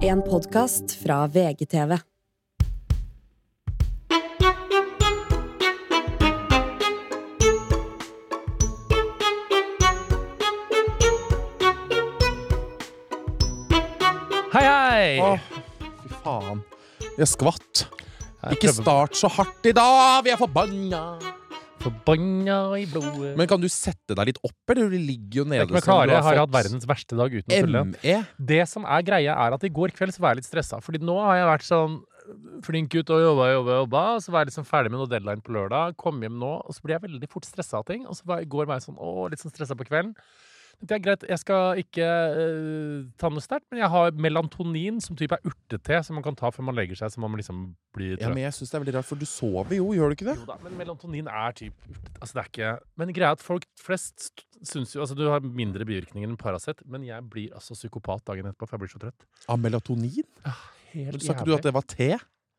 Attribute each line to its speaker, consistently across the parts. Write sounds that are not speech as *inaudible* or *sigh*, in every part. Speaker 1: En podkast fra VGTV.
Speaker 2: Hei, hei!
Speaker 3: Åh, fy faen. Jeg skvatt.
Speaker 2: Jeg
Speaker 3: Ikke
Speaker 2: prøver-
Speaker 3: start så hardt i dag, vi er forbanna!
Speaker 2: Forbanna i blodet.
Speaker 3: Men kan du sette deg litt opp, eller du ligger jo nede
Speaker 2: jeg meg
Speaker 3: som
Speaker 2: klare,
Speaker 3: sånn du
Speaker 2: jeg har
Speaker 3: fått E.
Speaker 2: hatt verdens verste dag uten å tulle.
Speaker 3: ME.
Speaker 2: Det som er greia, er at i går kveld så var jeg litt stressa. Fordi nå har jeg vært sånn flink ut og jobba, jobba, jobba. og Så var jeg liksom ferdig med noe deadline på lørdag. Kom hjem nå, og så blir jeg veldig fort stressa av ting. Og så var, i går var jeg sånn å, litt sånn stressa på kvelden. Det er greit, jeg skal ikke eh, ta noe sterkt, men jeg har melantonin, som type er urtete, som man kan ta før man legger seg, så man liksom blir
Speaker 3: Ja,
Speaker 2: trøtt.
Speaker 3: men jeg syns det er veldig rart, for du sover jo, gjør du ikke det?
Speaker 2: Jo da, men melatonin er typ Altså, det er ikke Men greia er at folk flest st- syns jo Altså, du har mindre bivirkninger enn Paracet, men jeg blir altså psykopat dagen etterpå, for jeg blir så trøtt.
Speaker 3: Av melatonin?
Speaker 2: Helt
Speaker 3: Men Sa ikke du at det var te?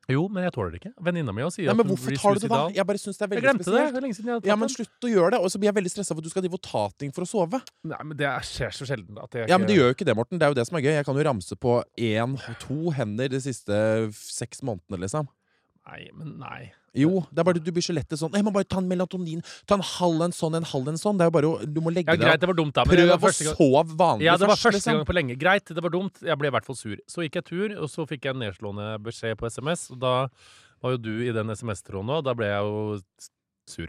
Speaker 2: Jo, men jeg tåler det ikke. Venninna mi også sier
Speaker 3: Nei,
Speaker 2: at
Speaker 3: men
Speaker 2: hun
Speaker 3: hvorfor
Speaker 2: blir
Speaker 3: tar du det da?
Speaker 2: suicidal.
Speaker 3: Jeg bare syns det er
Speaker 2: Jeg
Speaker 3: veldig
Speaker 2: glemte det.
Speaker 3: spesielt.
Speaker 2: Det er lenge siden jeg hadde tatt
Speaker 3: Ja, men slutt å gjøre det, og så blir jeg veldig stressa for at du skal drive og ta ting for å sove.
Speaker 2: den. Nei, men det er- skjer så sjelden at jeg
Speaker 3: Ja, men det gjør jo ikke det, Morten. Det er jo det som er gøy. Jeg kan jo ramse på én, to hender de siste seks månedene, liksom.
Speaker 2: Nei, men nei.
Speaker 3: Jo, det er bare du blir så lett til sånn Jeg må bare ta en melatonin. Ta en halv en sånn, en halv en sånn. Det er jo bare å Du må legge
Speaker 2: Ja,
Speaker 3: deg
Speaker 2: greit, det var dumt, da. Men det var
Speaker 3: Prøv å
Speaker 2: første gang
Speaker 3: sove vanlig
Speaker 2: ja, det var
Speaker 3: først,
Speaker 2: første
Speaker 3: liksom.
Speaker 2: gang på lenge. Greit, det var dumt. Jeg ble i hvert fall sur. Så gikk jeg tur, og så fikk jeg en nedslående beskjed på SMS. Og da var jo du i den SMS-tråden nå, og da ble jeg jo s- sur.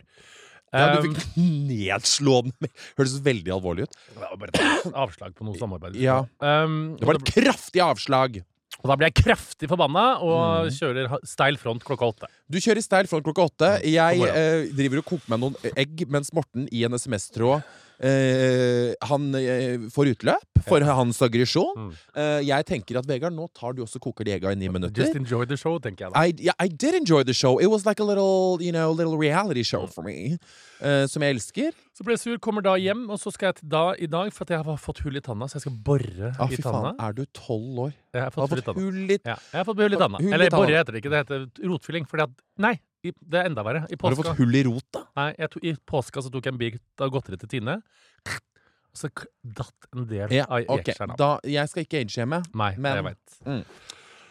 Speaker 3: Ja, du
Speaker 2: Um,
Speaker 3: fikk nedslående Høres veldig alvorlig ut.
Speaker 2: det var bare et avslag på noe samarbeid.
Speaker 3: Ja.
Speaker 2: Um,
Speaker 3: Det var et kraftig avslag!
Speaker 2: og da ble jeg kraftig forbanna og
Speaker 3: Mm.
Speaker 2: kjører ha- steil front klokka åtte.
Speaker 3: Du kjører steil front klokka åtte.
Speaker 2: på
Speaker 3: Jeg eh,
Speaker 2: morgenen.
Speaker 3: driver og koker meg noen egg, mens Morten i en SMS-tråd eh, Han eh, får utløp for hans aggresjon.
Speaker 2: Mm.
Speaker 3: Eh, jeg tenker at Vegard, nå tar du også koker de egga i ni minutter.
Speaker 2: Just enjoy the show, tenker jeg da.
Speaker 3: I, yeah, I did enjoy the show. It was like a little, you know, little reality show
Speaker 2: Mm.
Speaker 3: for me. eh, som jeg elsker.
Speaker 2: Så ble jeg sur, kommer da hjem, og så skal jeg til da i dag, for at jeg har fått hull i tanna, så jeg skal bore
Speaker 3: Ah,
Speaker 2: i
Speaker 3: fy
Speaker 2: tanna.
Speaker 3: faen, er du tolv år?
Speaker 2: Jeg har
Speaker 3: Har
Speaker 2: fått hull i
Speaker 3: fått
Speaker 2: tanna.
Speaker 3: hull i
Speaker 2: Ja, jeg har fått hull i
Speaker 3: Har-
Speaker 2: tanna.
Speaker 3: hull i
Speaker 2: Eller
Speaker 3: tanna.
Speaker 2: borre heter det ikke, det heter rotfylling. Fordi at Nei, i, det er enda verre. I
Speaker 3: Har du
Speaker 2: påska,
Speaker 3: fått hull i rota?
Speaker 2: nei, jeg to, i påska så tok jeg en bit av godteri til Tine, og så k- datt en del
Speaker 3: Ja,
Speaker 2: av
Speaker 3: ok.
Speaker 2: jekskjernen av.
Speaker 3: Da, jeg skal ikke ageshame.
Speaker 2: Nei, det jeg
Speaker 3: men-
Speaker 2: vet.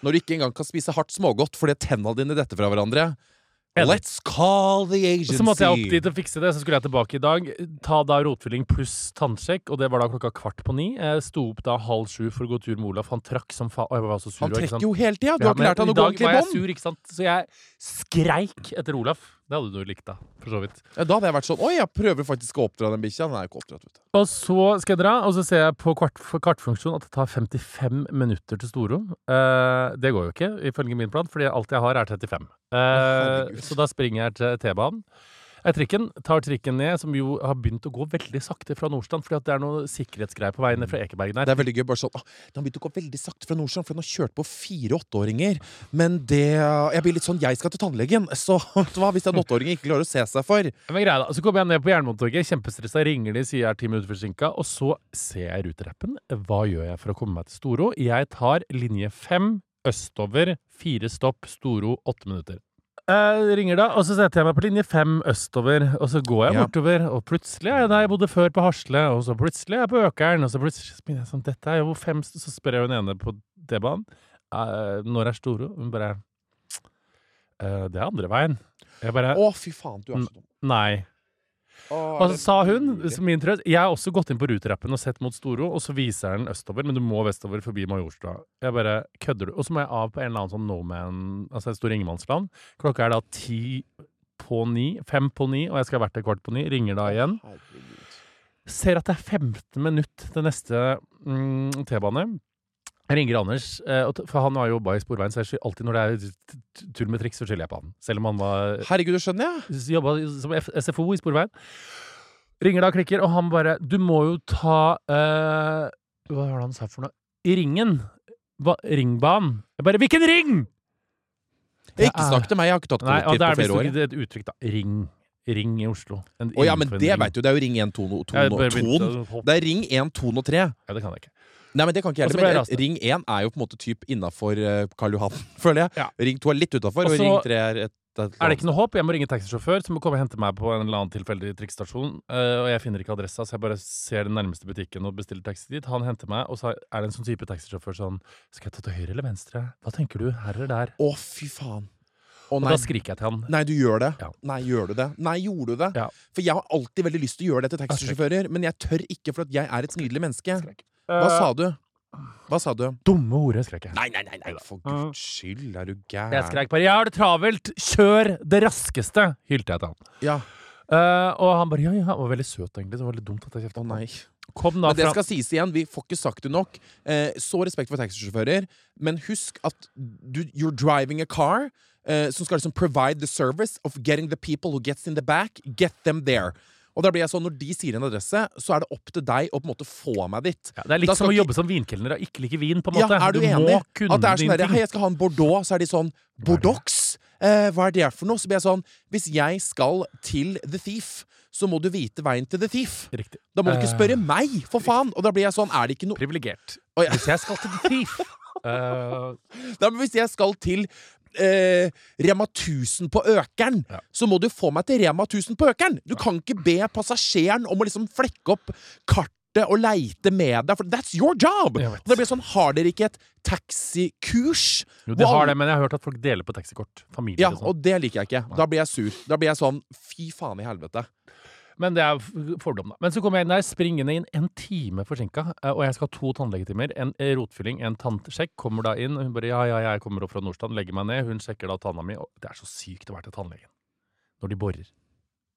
Speaker 3: Når du ikke engang kan spise hardt smågodt fordi tenna dine detter fra hverandre.
Speaker 2: Enig.
Speaker 3: Let's call the agency!
Speaker 2: Så måtte jeg opp dit og fikse det, så skulle jeg tilbake i dag. Ta da rotfylling pluss tannsjekk, og det var da klokka kvart på ni. Jeg sto opp da halv sju for å gå tur med Olaf. Han trakk som faen. Og jeg var så sur.
Speaker 3: Han
Speaker 2: og ikke
Speaker 3: trekker
Speaker 2: sant?
Speaker 3: jo hele tida! Du
Speaker 2: Ja,
Speaker 3: har ikke
Speaker 2: men
Speaker 3: lært han
Speaker 2: i
Speaker 3: å gå
Speaker 2: dag
Speaker 3: ordentlig
Speaker 2: var
Speaker 3: i
Speaker 2: jeg
Speaker 3: bånd!
Speaker 2: sur, ikke sant? Så jeg skreik etter Olaf. Det hadde du likt, da. For så vidt.
Speaker 3: Ja, da hadde jeg vært sånn Oi, jeg prøver faktisk å oppdra den bikkja. Den er ikke oppdratt, vet du.
Speaker 2: Og så skal jeg dra, og så ser jeg på kart, kartfunksjonen at det tar 55 minutter til Storom. Eh, det går jo ikke, ifølge min plan, fordi alt jeg har, er 35. Eh,
Speaker 3: herregud.
Speaker 2: så da springer jeg til T-banen. Jeg trikken, tar trikken ned, som jo har begynt å gå veldig sakte fra Nordstrand, fordi at det er noe sikkerhetsgreier på vei ned fra Ekebergen
Speaker 3: Det
Speaker 2: der.
Speaker 3: er veldig gøy. bare sånn, «Åh, Den begynte å gå veldig sakte fra Nordstrand, for den har kjørt på fire åtteåringer. Men det Jeg blir litt sånn Jeg skal til tannlegen, *laughs* så hva hvis en åtteåring ikke klarer å se seg for?
Speaker 2: Men greia da, Så kommer jeg ned på Jernbanetorget, kjempestressa, ringer de, sier jeg er ti minutter forsinka, og så ser jeg Ruterappen. Hva gjør jeg for å komme meg til Storo? Jeg tar linje fem østover, fire stopp, Storo, åtte minutter. Jeg ringer da, og så setter jeg meg på linje fem østover, og så går jeg
Speaker 3: Ja.
Speaker 2: bortover, og plutselig er jeg der jeg bodde før, på Hasle, og så plutselig er jeg på Økeren, og så plutselig så begynner jeg sånn, dette er jo fem, st-» så spør jeg hun ene på D-banen, «Eh, når er Storo? Hun bare, «Eh, det er andre veien. Jeg bare,
Speaker 3: Å, fy faen, du er så dum.
Speaker 2: nei.
Speaker 3: Å,
Speaker 2: Mm. Og
Speaker 3: er
Speaker 2: så
Speaker 3: det
Speaker 2: sa hun,
Speaker 3: mulig?
Speaker 2: som min trøst Jeg har også gått inn på ruterappen og sett mot Storo, og så viser den østover, men du må vestover forbi Majorstua. Jeg bare kødder du? Og så må jeg av på en eller annen sånn no man, altså et stor ingenmannsland. Klokka er da ti på ni, fem på ni, og jeg skal ha vært der kvart på ni. Ringer da igjen.
Speaker 3: Herregud.
Speaker 2: Ser at det er 15 minutt til neste mm, T-bane. Jeg ringer Anders, eh, og t- for han har jobba i Sporveien, så jeg skyr alltid når det er t- t- tull med triks, så skylder jeg på han. Selv om han var
Speaker 3: Herregud, det skjønner jeg.
Speaker 2: jobba som F SFO i Sporveien. Ringer da klikker, og han bare Du må jo ta eh, Hva var det han sa for noe? I ringen. Hva, ringbanen. Jeg bare Hvilken ring?! Det
Speaker 3: Ikke
Speaker 2: er-
Speaker 3: snakk til meg, jeg har ikke tatt
Speaker 2: Nei, og
Speaker 3: kollektiv
Speaker 2: det
Speaker 3: på
Speaker 2: er
Speaker 3: flere år.
Speaker 2: visst et uttrykk, da. Ring. Ring i Oslo. En
Speaker 3: Å ja, men
Speaker 2: innenfor en
Speaker 3: det
Speaker 2: ring.
Speaker 3: veit du. Det er jo ring 1, 2 og
Speaker 2: Jeg
Speaker 3: 2
Speaker 2: bare
Speaker 3: og-
Speaker 2: begynte
Speaker 3: ton.
Speaker 2: å hoppe.
Speaker 3: Det er ring 1, 2 og 3.
Speaker 2: Ja, det kan jeg ikke.
Speaker 3: Nei, men det kan ikke jeg
Speaker 2: Og så
Speaker 3: heller.
Speaker 2: ble jeg
Speaker 3: men
Speaker 2: rasende.
Speaker 3: Ring 1 er jo på en måte typ innafor eh, Karl Johan, *laughs* føler jeg.
Speaker 2: Ja.
Speaker 3: Ring 2 er litt utafor,
Speaker 2: Og
Speaker 3: og
Speaker 2: så-
Speaker 3: ring 3 er et et
Speaker 2: Er det ikke noe håp? Jeg må ringe taxisjåfør som må komme og hente meg på en eller annen tilfeldig trikkstasjon. eh, og jeg finner ikke adressa, så jeg bare ser den nærmeste butikken og bestiller taxi dit. Han henter meg, og så er det en sånn type taxisjåfør sånn Skal jeg ta til høyre eller venstre? Hva tenker du? Her eller der?
Speaker 3: Å, fy faen. Å,
Speaker 2: Og
Speaker 3: nei.
Speaker 2: da skriker jeg til han.
Speaker 3: Nei, du gjør det.
Speaker 2: Ja.
Speaker 3: Nei, gjør du det? Nei, gjorde du det?
Speaker 2: Ja.
Speaker 3: For jeg har alltid veldig lyst til å gjøre det til taxisjåfører, men jeg tør ikke, for at jeg er et nydelig menneske. Hva
Speaker 2: Eh.
Speaker 3: sa du? Hva sa du?
Speaker 2: Dumme ordet, skrek jeg.
Speaker 3: Nei, nei, nei, nei. for guds skyld, er du gæren?
Speaker 2: Jeg skrek bare 'Jeg har det travelt! Kjør det raskeste!' hylte jeg til han.
Speaker 3: Ja.
Speaker 2: Eh, og han bare 'ja, ja'. Han var veldig søt, egentlig. Så det var litt dumt at jeg kjefta
Speaker 3: Å
Speaker 2: på han.
Speaker 3: nei.
Speaker 2: Kom da
Speaker 3: Men det
Speaker 2: fra
Speaker 3: skal sies igjen, vi får ikke sagt det nok. Eh, så respekt for taxisjåfører, men husk at du, you're driving a car eh, som skal liksom provide the service of getting the people who gets in the back, get them there. Og da blir jeg sånn, Når de sier en adresse, så er det opp til deg å på en måte få meg dit.
Speaker 2: ja, Det er
Speaker 3: Da
Speaker 2: litt
Speaker 3: skal
Speaker 2: som å
Speaker 3: ikke-
Speaker 2: jobbe som vinkelner og ikke like vin, på en
Speaker 3: Ja,
Speaker 2: måte.
Speaker 3: er du, enig?
Speaker 2: må kunne
Speaker 3: At det er sånn
Speaker 2: din
Speaker 3: der,
Speaker 2: ting.
Speaker 3: Hei, jeg skal ha en Bordeaux. Så er de sånn Bordeaux? Eh, hva er det for noe? Så blir jeg sånn Hvis jeg skal til The Thief, så må du vite veien til The Thief.
Speaker 2: Riktig.
Speaker 3: Da må du ikke
Speaker 2: Eh.
Speaker 3: spørre meg, for faen! Og da blir jeg sånn Er det ikke noe
Speaker 2: Privilegert.
Speaker 3: Å, ja.
Speaker 2: Hvis jeg skal til The
Speaker 3: *laughs*
Speaker 2: Thief eh,
Speaker 3: da, men Hvis jeg skal til eh, Rema 1000 på Økern,
Speaker 2: Ja.
Speaker 3: så må du få meg til Rema 1000 på Økern! Du kan ikke be passasjeren om å liksom flekke opp kartet og leite med deg, for that's your job!
Speaker 2: Jeg
Speaker 3: Og
Speaker 2: vet.
Speaker 3: det blir sånn, Har dere ikke et taxikurs?
Speaker 2: Jo, de
Speaker 3: Wow.
Speaker 2: har det, men jeg har hørt at folk deler på taxikort. Familier
Speaker 3: Ja,
Speaker 2: og sånn.
Speaker 3: og det liker jeg ikke. Da blir jeg sur. Da blir jeg sånn Fy faen i helvete.
Speaker 2: Men det er f- fordom, da. Men så kommer jeg inn der springende inn en time forsinka, eh, og jeg skal ha to tannlegetimer. En eh, rotfylling, en tannsjekk. Kommer da inn, og hun bare ja, ja, jeg kommer opp fra Nordstrand, legger meg ned. Hun sjekker da tanna mi, og det er så sykt å være til tannlegen når de borer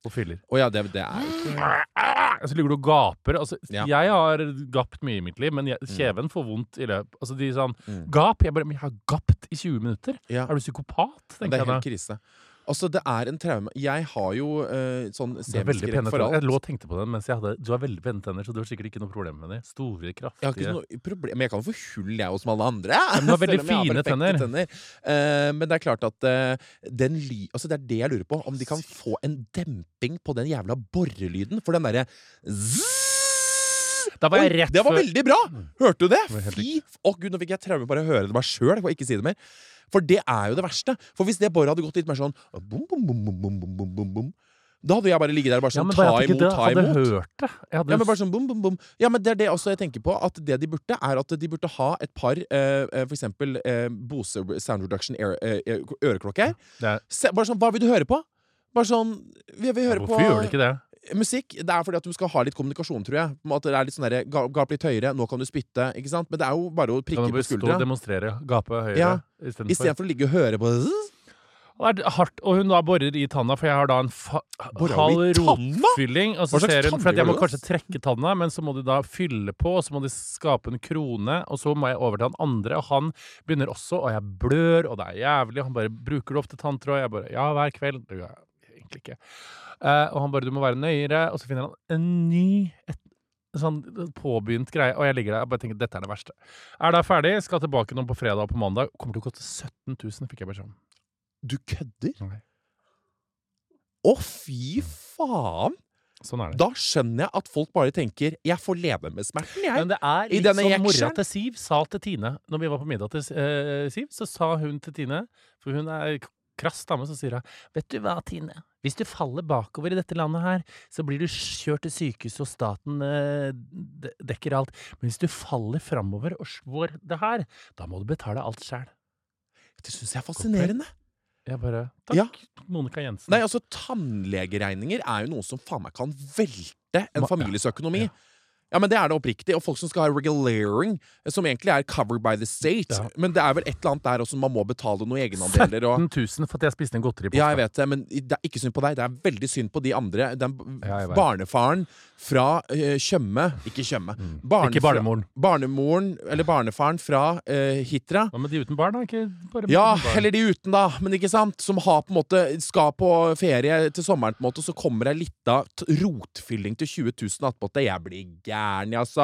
Speaker 2: og fyller.
Speaker 3: Å ja, det, det er ikke
Speaker 2: Og så ligger du og gaper. Altså,
Speaker 3: Ja.
Speaker 2: Jeg har gapt mye i mitt liv, men jeg, kjeven får vondt i løpet Altså, de sånn
Speaker 3: Mm.
Speaker 2: Gap! Jeg bare Men jeg har gapt i 20 minutter!
Speaker 3: ja,
Speaker 2: Er du psykopat?
Speaker 3: Det
Speaker 2: tenker
Speaker 3: er
Speaker 2: jeg da.
Speaker 3: helt krise. Altså, det er en traume. Jeg har jo eh, sånn
Speaker 2: Du har veldig
Speaker 3: semiskrekk
Speaker 2: pene
Speaker 3: for
Speaker 2: tenner. Jeg
Speaker 3: alt.
Speaker 2: lå og tenkte på den mens jeg hadde Du har veldig pene tenner, så du har sikkert ikke noe problem med det. Store,
Speaker 3: Jeg har ikke
Speaker 2: kraftige
Speaker 3: noe problem, men jeg kan jo få hull, jeg, også, som alle andre.
Speaker 2: men du har
Speaker 3: Selv
Speaker 2: veldig
Speaker 3: om jeg
Speaker 2: fine
Speaker 3: perfekte
Speaker 2: tenner.
Speaker 3: Eh, men det er klart at eh, den ly... Altså, det er det jeg lurer på. Om de kan få en demping på den jævla borrelyden. For den derre zzz-
Speaker 2: Da var jeg
Speaker 3: Oi,
Speaker 2: rett
Speaker 3: Det var
Speaker 2: før-
Speaker 3: veldig bra! Hørte du det?
Speaker 2: var helt
Speaker 3: Fy Å gud, nå fikk jeg traume bare av å høre det meg sjøl. Jeg får ikke si det mer. For det er jo det verste. For hvis det boret hadde gått litt mer sånn bom, bom, bom, bom, bom, bom, bom, bom, bom, Da hadde jeg bare ligget der og bare
Speaker 2: Ja,
Speaker 3: sånn
Speaker 2: men bare
Speaker 3: ta
Speaker 2: at ikke
Speaker 3: imot,
Speaker 2: det
Speaker 3: ta
Speaker 2: hadde
Speaker 3: imot.
Speaker 2: hørt det. Jeg hadde
Speaker 3: Ja, men bare sånn bom, bom, bom. Ja, men det er det også jeg tenker på. At det de burde, er at de burde ha et par eh, eh, for eksempel eh, Bose Sound Reduction Air- eh, eh, øreklokker.
Speaker 2: Det er-
Speaker 3: Se, bare sånn, hva vil du høre på? Bare sånn Vi vil høre
Speaker 2: Hvorfor gjør du
Speaker 3: på
Speaker 2: ikke det?
Speaker 3: musikk. Det er fordi at du skal ha litt kommunikasjon, tror jeg. Om At det er litt sånn derre ga- Gap litt høyere, nå kan du spytte, ikke sant? Men det er jo bare
Speaker 2: Da
Speaker 3: å prikke
Speaker 2: må vi
Speaker 3: på
Speaker 2: stå og
Speaker 3: skuldra.
Speaker 2: demonstrere. Gape høyere
Speaker 3: Ja,
Speaker 2: istedenfor.
Speaker 3: Istedenfor å ligge og høre på zzz,
Speaker 2: Det er hardt, og hun da borer i tanna, for jeg har da en fa
Speaker 3: Borer
Speaker 2: halv
Speaker 3: hun i tanna?
Speaker 2: rotfylling. Og så
Speaker 3: Hva slags
Speaker 2: ser hun, for at jeg må
Speaker 3: tannlegger du
Speaker 2: kanskje trekke tanna, men så må de da fylle på, og så må de skape en krone, og så må jeg over til han andre, og han begynner også, og jeg blør, og det er jævlig, og han bare bruker du opp til tanntråd, jeg bare ja, hver kveld. Det gjør jeg egentlig ikke. Eh, og han bare du må være nøyere, og så finner han en ny et, sånn påbegynt greie, og jeg ligger der og bare tenker dette er det verste. Er da ferdig, skal tilbake nå på fredag og på mandag, kommer til å koste 17 000, fikk jeg beskjed om.
Speaker 3: Du kødder?
Speaker 2: Nei.
Speaker 3: Å, fy faen!
Speaker 2: Sånn er det.
Speaker 3: Da skjønner jeg at folk bare tenker 'jeg får leve med smerten', jeg.
Speaker 2: Men det er
Speaker 3: I
Speaker 2: litt
Speaker 3: denne
Speaker 2: som mora
Speaker 3: jekselen.
Speaker 2: til Siv sa til Tine Når vi var på middag til eh, Siv, så sa hun til Tine For hun er k- krass dame, så sier hun Vet du hva, Tine? Hvis du faller bakover i dette landet her, så blir du kjørt til sykehuset, og staten eh, de- dekker alt. Men hvis du faller framover og slår det her, da må du betale alt sjæl.
Speaker 3: Det syns jeg er fascinerende.
Speaker 2: Jeg bare Takk,
Speaker 3: Ja.
Speaker 2: Monica Jensen.
Speaker 3: Nei, altså Tannlegeregninger er jo noe som faen meg kan velte en
Speaker 2: Ma-
Speaker 3: families økonomi.
Speaker 2: ja.
Speaker 3: Ja, men Det er det oppriktig. Og folk som skal ha regulering, eh, som egentlig er covered by the state.
Speaker 2: Ja.
Speaker 3: Men det er vel et eller annet der også man må betale noen egenandeler. Og
Speaker 2: 17 000 for at jeg spiste en godteri på
Speaker 3: ja, jeg vet det, men det er ikke synd på deg. Det er veldig synd på de andre. Den b-
Speaker 2: Ja, jeg vet.
Speaker 3: barnefaren fra eh, Tjøme Ikke Tjøme. Barnefra-
Speaker 2: Mm. Ikke barnemoren.
Speaker 3: Barnemoren, eller barnefaren fra eh, Hitra.
Speaker 2: Hva med de uten barn, da? Ikke bare
Speaker 3: Ja,
Speaker 2: uten barn.
Speaker 3: eller de uten, da. Men ikke sant? Som har på en måte skal på ferie til sommeren, på en måte, og så kommer ei lita t- rotfylling til 20 000 attpåtil. Jeg blir gæren, jeg, altså.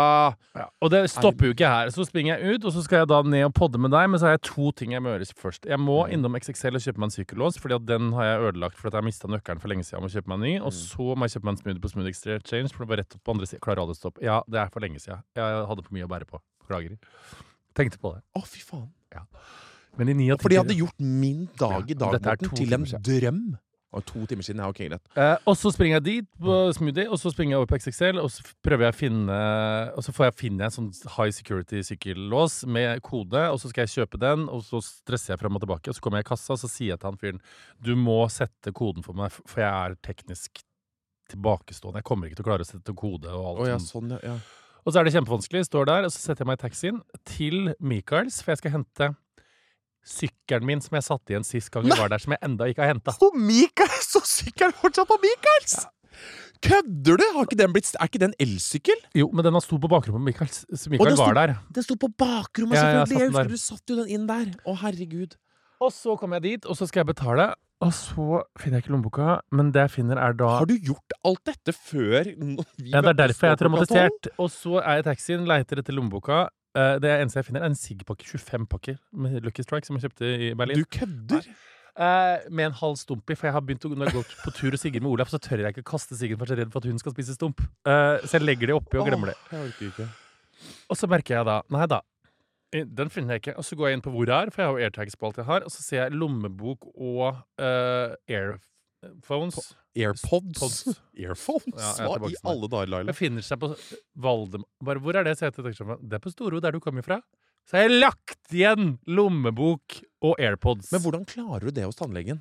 Speaker 2: Ja, og det stopper jo ikke her. Så springer jeg ut, og så skal jeg da ned og podde med deg, men så har jeg to ting jeg må gjøre først. Jeg må innom XXL og kjøpe meg en sykkellås, fordi at den har jeg ødelagt fordi at jeg mista nøkkelen for lenge siden. Jeg må kjøpe meg en ny. Og så må jeg kjøpe meg en smoothie på Smoothie Exchange, for det var rett opp på andre siden. Klarer aldri å stoppe. Ja, det er for lenge siden. Jeg hadde for mye å bære på. Beklager. Tenkte på det.
Speaker 3: Å, fy faen.
Speaker 2: Men i 9 av 10
Speaker 3: For de hadde gjort min dag i
Speaker 2: Ja,
Speaker 3: dag
Speaker 2: dette er
Speaker 3: Morten,
Speaker 2: to
Speaker 3: til en
Speaker 2: timer siden.
Speaker 3: drøm. Og to timer siden. Ja, ok, greit.
Speaker 2: Eh, og så springer jeg dit på smoothie, og så springer jeg over på XXL, og så prøver jeg å finne Og så får jeg finne en sånn high security-sykkellås med kode, og så skal jeg kjøpe den, og så stresser jeg frem og tilbake, og så kommer jeg i kassa, og så sier jeg til han fyren Du må sette koden for meg, for jeg er teknisk tilbakestående. Jeg kommer ikke til å klare å sette kode og alt
Speaker 3: Å ja,
Speaker 2: sånt.
Speaker 3: sånn, ja. ja.
Speaker 2: Og så er det kjempevanskelig. Står der, og så setter jeg meg i taxien til Michaels, for jeg skal hente sykkelen min som jeg satte igjen sist gang vi var der, som jeg enda ikke har henta.
Speaker 3: På *laughs* Michaels! Og sykkelen fortsatt på Michaels! Kødder du?! Har ikke den blitt, er ikke det en elsykkel?
Speaker 2: Jo, men den har stått på bakrommet. Michaels, så
Speaker 3: den
Speaker 2: Michael
Speaker 3: sto-
Speaker 2: var der.
Speaker 3: Den sto på bakrommet,
Speaker 2: Ja, ja, jeg
Speaker 3: selvfølgelig! Jeg
Speaker 2: satt den der.
Speaker 3: husker du satt jo den inn der. Å, herregud.
Speaker 2: Og så kommer jeg dit, og så skal jeg betale. Og så finner jeg ikke lommeboka, men det jeg finner, er da
Speaker 3: Har du gjort alt dette før n- vi
Speaker 2: ja, Det er
Speaker 3: møttes
Speaker 2: derfor jeg er
Speaker 3: nå klokka
Speaker 2: traumatisert. Og så er jeg i taxien, leiter etter lommeboka. Eh, Det eneste jeg finner, er en Sig-pakke. 25 pakker med Lucky Strike som jeg kjøpte i
Speaker 3: tolv?
Speaker 2: Berlin.
Speaker 3: Du kødder!
Speaker 2: Eh, med en halv stump i, for jeg har begynt å, når jeg går på tur og sigger med Olaf, så tør jeg ikke kaste siggen, for jeg er så redd for at hun skal spise stump. Eh, så jeg legger det oppi og glemmer det.
Speaker 3: Åh, Jeg orker ikke.
Speaker 2: Og så merker jeg da Nei da, eh, den finner jeg ikke. Og så går jeg inn på hvor det er, for jeg har jo airtags på alt jeg har, og så ser jeg lommebok og eh, airphones.
Speaker 3: Airpods.
Speaker 2: Pods.
Speaker 3: Earphones?
Speaker 2: Ja, jeg er
Speaker 3: Hva
Speaker 2: tilbake
Speaker 3: i
Speaker 2: til meg.
Speaker 3: alle dager, Laila?
Speaker 2: Jeg finner seg på Valdemar Bare, Hvor er det? Så jeg til taxisjåføren. Det er på Storo, der du kommer fra. Så har jeg lagt igjen lommebok og airpods.
Speaker 3: Men hvordan klarer du det hos tannlegen?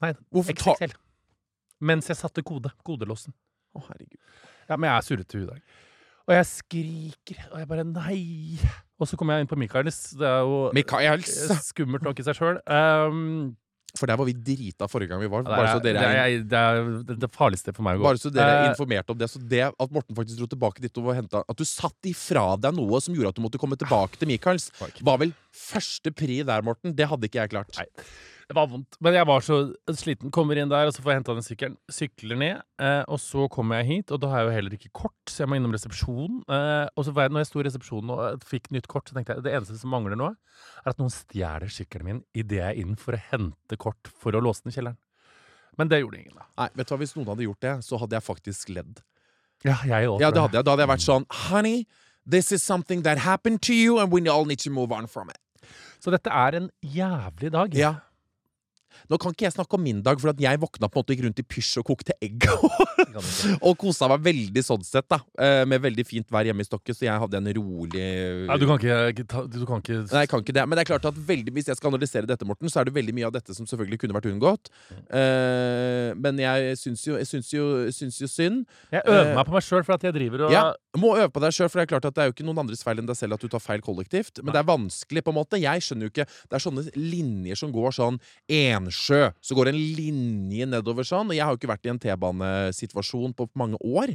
Speaker 2: Nei,
Speaker 3: Hvorfor tar
Speaker 2: XXL. Mens jeg satte kode. Kodelåsen.
Speaker 3: Å, herregud.
Speaker 2: Ja, men jeg er surrete i dag. Og jeg skriker, og jeg bare nei. Og så kommer jeg inn på Michaelis. Det er jo
Speaker 3: Michaels!
Speaker 2: eh, skummelt nok i seg sjøl. Um,
Speaker 3: For der var vi drita forrige gang vi var.
Speaker 2: det,
Speaker 3: Bare så
Speaker 2: er- det,
Speaker 3: dere er
Speaker 2: er- det er det- det farligste for meg å gå.
Speaker 3: Bare så dere er
Speaker 2: Eh,
Speaker 3: informert om det. Så det at Morten faktisk dro tilbake dit og hentet, At du satt ifra deg noe som gjorde at du måtte komme tilbake til Michaels,
Speaker 2: Ah, Fuck.
Speaker 3: var vel første pri der, Morten. Det hadde ikke jeg klart.
Speaker 2: Nei. Det var vondt. Men jeg var så sliten. Kommer inn der, og så får jeg henta den sykkelen. Sykler ned, eh, og så kommer jeg hit, og da har jeg jo heller ikke kort, så jeg må innom resepsjonen. Eh, og så var jeg, når jeg sto i resepsjonen og eh, fikk nytt kort, så tenkte jeg det eneste som mangler nå, er at noen stjeler sykkelen min idet jeg er inn for å hente kort for å låse den i kjelleren. Men det gjorde ingen, da.
Speaker 3: Nei, vet du hva, Hvis noen hadde gjort det, så hadde jeg faktisk ledd.
Speaker 2: Ja, jeg også,
Speaker 3: Ja,
Speaker 2: tror
Speaker 3: det hadde jeg. Da hadde jeg vært sånn Honey, this is something that happened to you, and we all need to move on from it.
Speaker 2: Så dette er en jævlig dag. *laughs*
Speaker 3: Ja. Nå kan ikke jeg snakke om min dag, for at jeg våkna på en måte og gikk rundt i pysj og kokte egg. *laughs*
Speaker 2: Det kan jeg ikke.
Speaker 3: og kosa meg veldig sånn sett, da. Eh, Med veldig fint vær hjemme i stokket, så jeg hadde en rolig
Speaker 2: Nei, du kan ikke, ta- du kan ikke
Speaker 3: Nei, jeg kan ikke det. Men det er klart at veldig, hvis jeg skal analysere dette, Morten, så er det veldig mye av dette som selvfølgelig kunne vært unngått.
Speaker 2: Mm.
Speaker 3: Eh, men jeg syns jo, jeg syns jo, syns jo synd.
Speaker 2: Jeg øver
Speaker 3: Eh,
Speaker 2: meg på meg sjøl for at jeg driver og
Speaker 3: Ja, Må øve på deg sjøl, for det er klart at det er jo ikke noen andres feil enn deg selv at du tar feil kollektivt. Men det er vanskelig, på en måte. Jeg skjønner jo ikke Det er sånne linjer som går sånn Ensjø. Så går en linje nedover sånn. Og jeg har jo ikke vært i en T-banesituasjon på mange år.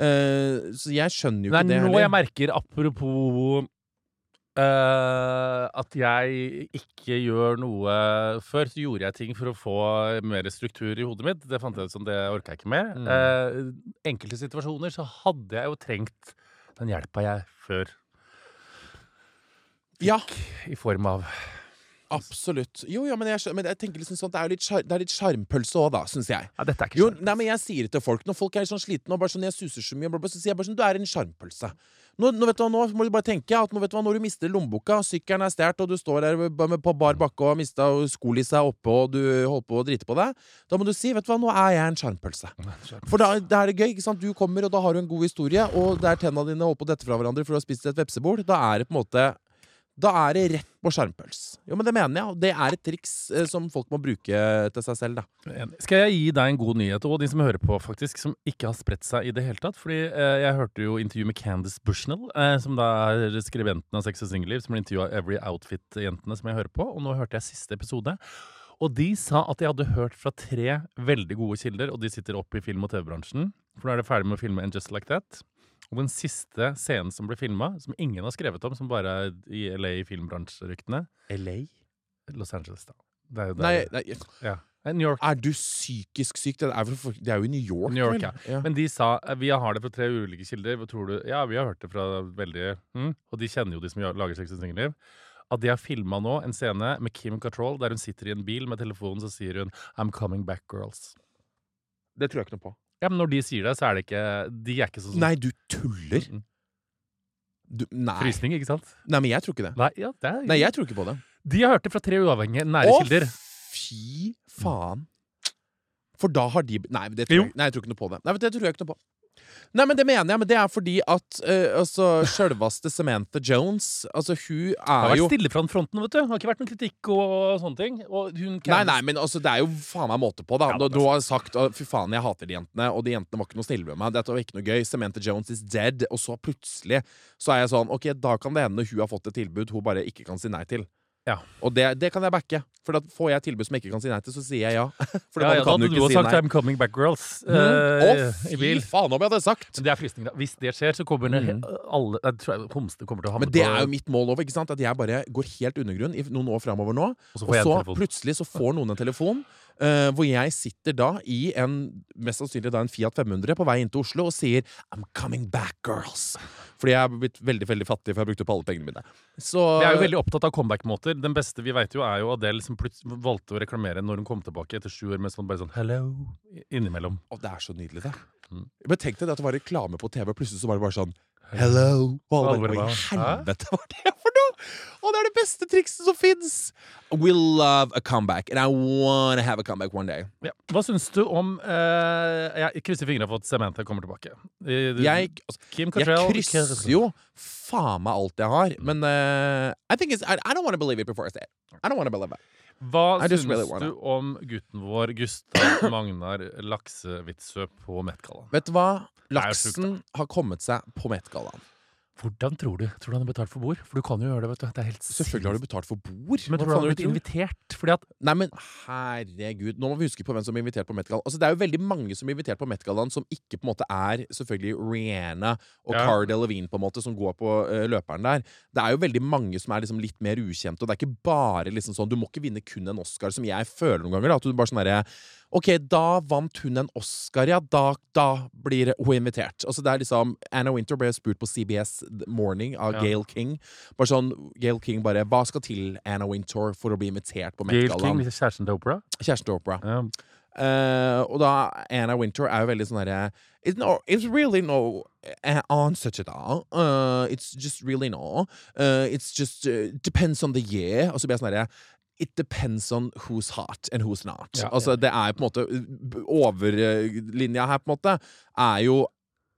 Speaker 3: Eh, så jeg skjønner jo
Speaker 2: Det
Speaker 3: ikke
Speaker 2: er
Speaker 3: det
Speaker 2: nå jeg merker, apropos eh, at jeg ikke gjør noe Før så gjorde jeg ting for å få mer struktur i hodet mitt. Det fant jeg ut som det orka jeg ikke med. Eh, enkelte situasjoner så hadde jeg jo trengt den hjelpa jeg før
Speaker 3: Ja,
Speaker 2: i form av
Speaker 3: absolutt. Jo, ja, men jeg, skjønner, men jeg tenker liksom sånn, det er jo litt skjar- det er litt sjarmpølse òg, da, syns jeg.
Speaker 2: Ja, dette er ikke
Speaker 3: Jo,
Speaker 2: skjønt.
Speaker 3: nei, men jeg sier det til folk Når folk er sånn slitne og bare sånn Jeg suser så mye bla, bla, Så sier jeg bare sånn Du er en sjarmpølse nå, nå vet du hva Nå må du bare tenke At nå vet du hva Når du mister lommeboka Sykkelen er stert Og du står der b- med- på bar bakke Og mister og skolissa er oppe Og du holder på å drite på deg Da må du si Vet du hva Nå er jeg en sjarmpølse For da, da er det gøy ikke sant? Du kommer Og da har du en god historie Og der tennene dine holder på å dette fra hverandre For du har spist et vepsebol Da er det på en måte da er det rett på skjermpøls Jo, men det mener jeg og Det er et triks eh, som folk må bruke til seg selv da
Speaker 2: Enig. Skal jeg gi deg en god nyhet, og de som hører på, faktisk, som ikke har spredt seg i det hele tatt? Fordi eh, jeg hørte jo intervju med Candice Bushnell, eh, som da er skribenten av Sex og singelliv, som blir intervjua av Every Outfit-jentene som jeg hører på, og nå hørte jeg siste episode. Og de sa at de hadde hørt fra tre veldig gode kilder, og de sitter oppe i film- og TV-bransjen, for nå er de ferdig med å filme And Just Like That. Og den siste scenen som ble filma, som ingen har skrevet om, som bare er i LA i filmbransjeryktene,
Speaker 3: LA?
Speaker 2: Los Angeles, da. Det er jo der.
Speaker 3: Nei, nei
Speaker 2: Ja. New York.
Speaker 3: Er du psykisk syk? Det er, vel for- det er jo i New York.
Speaker 2: New York,
Speaker 3: vel?
Speaker 2: ja.
Speaker 3: ja.
Speaker 2: Men de sa eh, vi har det fra tre ulike kilder. Hva tror du? Ja, vi har hørt det fra veldig mm. Og de kjenner jo de som gjør- lager Sex og singelliv. At de har filma nå en scene med Kim Cattrall der hun sitter i en bil med telefonen, så sier hun 'I'm coming back, girls'.
Speaker 3: Det tror jeg ikke noe på.
Speaker 2: Ja, men når de sier det, så er det ikke De er ikke sånn
Speaker 3: Altså, Nei, du tuller!
Speaker 2: Mm.
Speaker 3: Du, nei.
Speaker 2: Frysning, ikke sant?
Speaker 3: nei, men jeg tror ikke det.
Speaker 2: Nei, ja, det er
Speaker 3: Nei, jeg tror ikke på det.
Speaker 2: De har hørt det fra tre uavhengige nære
Speaker 3: Å,
Speaker 2: kilder.
Speaker 3: fy faen. For da har de Nei, det
Speaker 2: Jo.
Speaker 3: tror jeg, nei, jeg tror ikke noe på det. Nei, vet du, det tror jeg ikke noe på. Nei, men Det mener jeg, men det er fordi at uh,
Speaker 2: *laughs*
Speaker 3: altså, sjølveste Samantha Jones Altså, hun
Speaker 2: Det har
Speaker 3: er jo
Speaker 2: vært stille fra den fronten, vet du. Det har ikke vært noen kritikk og sånne ting. Og hun
Speaker 3: Nei,
Speaker 2: Candice-
Speaker 3: nei, men altså, det er jo faen meg måte på. da
Speaker 2: Ja,
Speaker 3: Du,
Speaker 2: det er
Speaker 3: du har sagt at fy faen, jeg hater de jentene, og de jentene var ikke noe snille med meg. Dette var ikke noe gøy. Samantha Jones is dead. Og så plutselig så er jeg sånn Ok, da kan det hende hun har fått et tilbud hun bare ikke kan si nei til.
Speaker 2: Ja.
Speaker 3: Og det, det kan jeg backe. For da får jeg et tilbud som jeg ikke kan si nei til, så sier jeg ja. *laughs* For
Speaker 2: ja,
Speaker 3: man
Speaker 2: ja, da
Speaker 3: kan
Speaker 2: hadde
Speaker 3: jo
Speaker 2: du
Speaker 3: ikke
Speaker 2: også
Speaker 3: si
Speaker 2: sagt
Speaker 3: nei.
Speaker 2: I'm coming back, girls.
Speaker 3: Mm. Å,
Speaker 2: eh, I
Speaker 3: fy
Speaker 2: bil.
Speaker 3: faen, om jeg hadde sagt!
Speaker 2: Men det er frysning, da. Hvis det skjer, så kommer det
Speaker 3: Mm.
Speaker 2: alle Jeg tror jeg homsene kommer til å havne
Speaker 3: Men det
Speaker 2: på
Speaker 3: er jo mitt mål òg, ikke sant? At jeg bare går helt undergrunn i noen år framover nå.
Speaker 2: Og så
Speaker 3: Og
Speaker 2: får jeg en
Speaker 3: så
Speaker 2: telefon.
Speaker 3: plutselig så får noen en telefon eh, hvor jeg sitter da i en mest sannsynlig da en Fiat 500 på vei inn til Oslo og sier I'm coming back, girls. Fordi jeg er blitt veldig veldig fattig, for jeg brukte opp alle pengene mine. Så
Speaker 2: Vi er jo veldig opptatt av comeback-måter. Den beste vi vet jo, er jo Adele som plutselig valgte å reklamere når hun kom tilbake etter sju år med sånn bare sånn Hello innimellom.
Speaker 3: Å, det er så nydelig, det.
Speaker 2: Mm.
Speaker 3: Men tenk deg det at det var reklame på TV, og plutselig så var det bare sånn Hello! Og alle
Speaker 2: Alle
Speaker 3: bare, Hva i
Speaker 2: bare, hæ?
Speaker 3: helvete var det for noe?! Og det er det beste trikset som fins! We love a comeback, and I wanna have a comeback one day.
Speaker 2: Ja. Hva syns du om eh, Jeg krysser fingrene for at Samantha kommer tilbake. Eh, du-
Speaker 3: Jeg, altså,
Speaker 2: Kim Cattrall
Speaker 3: Jeg krysser jo faen meg alt jeg har, men eh, I, think it's, I, I don't want to believe it before I say it. I don't want to believe it.
Speaker 2: Hva
Speaker 3: I just
Speaker 2: syns
Speaker 3: really wanna-
Speaker 2: du om gutten vår, Gustav Magnar Laksevitsø, på Met-gallaen?
Speaker 3: Vet du hva?
Speaker 2: er jo sjukt,
Speaker 3: Laksen har kommet seg på Met-gallaen.
Speaker 2: Hvordan tror du? Tror du han har betalt for bord? For du kan jo gjøre det, vet du. Det er helt
Speaker 3: Selvfølgelig har du betalt for bord.
Speaker 2: Men tror
Speaker 3: Hva
Speaker 2: du
Speaker 3: faen
Speaker 2: han har
Speaker 3: er det
Speaker 2: blitt
Speaker 3: du tror?
Speaker 2: invitert? Fordi at
Speaker 3: Nei, men herregud, nå må vi huske på hvem som er invitert på Met-gallaen. Altså, det er jo veldig mange som er invitert på Met-gallaen som ikke på en måte er selvfølgelig Rihanna og
Speaker 2: Ja.
Speaker 3: Cara Delevingne på en måte som går på eh, løperen der. Det er jo veldig mange som er liksom litt mer ukjente, og det er ikke bare liksom sånn Du må ikke vinne kun en Oscar, som jeg føler noen ganger. da, At du bare sånn derre Ok, da vant hun en Oscar, ja. Da, da blir hun invitert. Altså, det er liksom Anna Winter ble spurt på CBS Morning av
Speaker 2: Ja.
Speaker 3: Gail King. Bare sånn, Gail King bare Hva skal til Anna Winter for å bli invitert på
Speaker 2: Gail King,
Speaker 3: Met-gallaen?
Speaker 2: kjæresten til Opera
Speaker 3: Kjæresten til Opera.
Speaker 2: ja.
Speaker 3: Eh, og da Anna Winter er jo veldig sånn derre it's, no, it's really no eh, answer to that. Eh, it's just really no. Eh, it's just eh, depends on the year. Og så blir jeg sånn derre It depends on who's hot and who's not.
Speaker 2: Ja,
Speaker 3: altså, det er på en måte b- Overlinja her, på en måte, er jo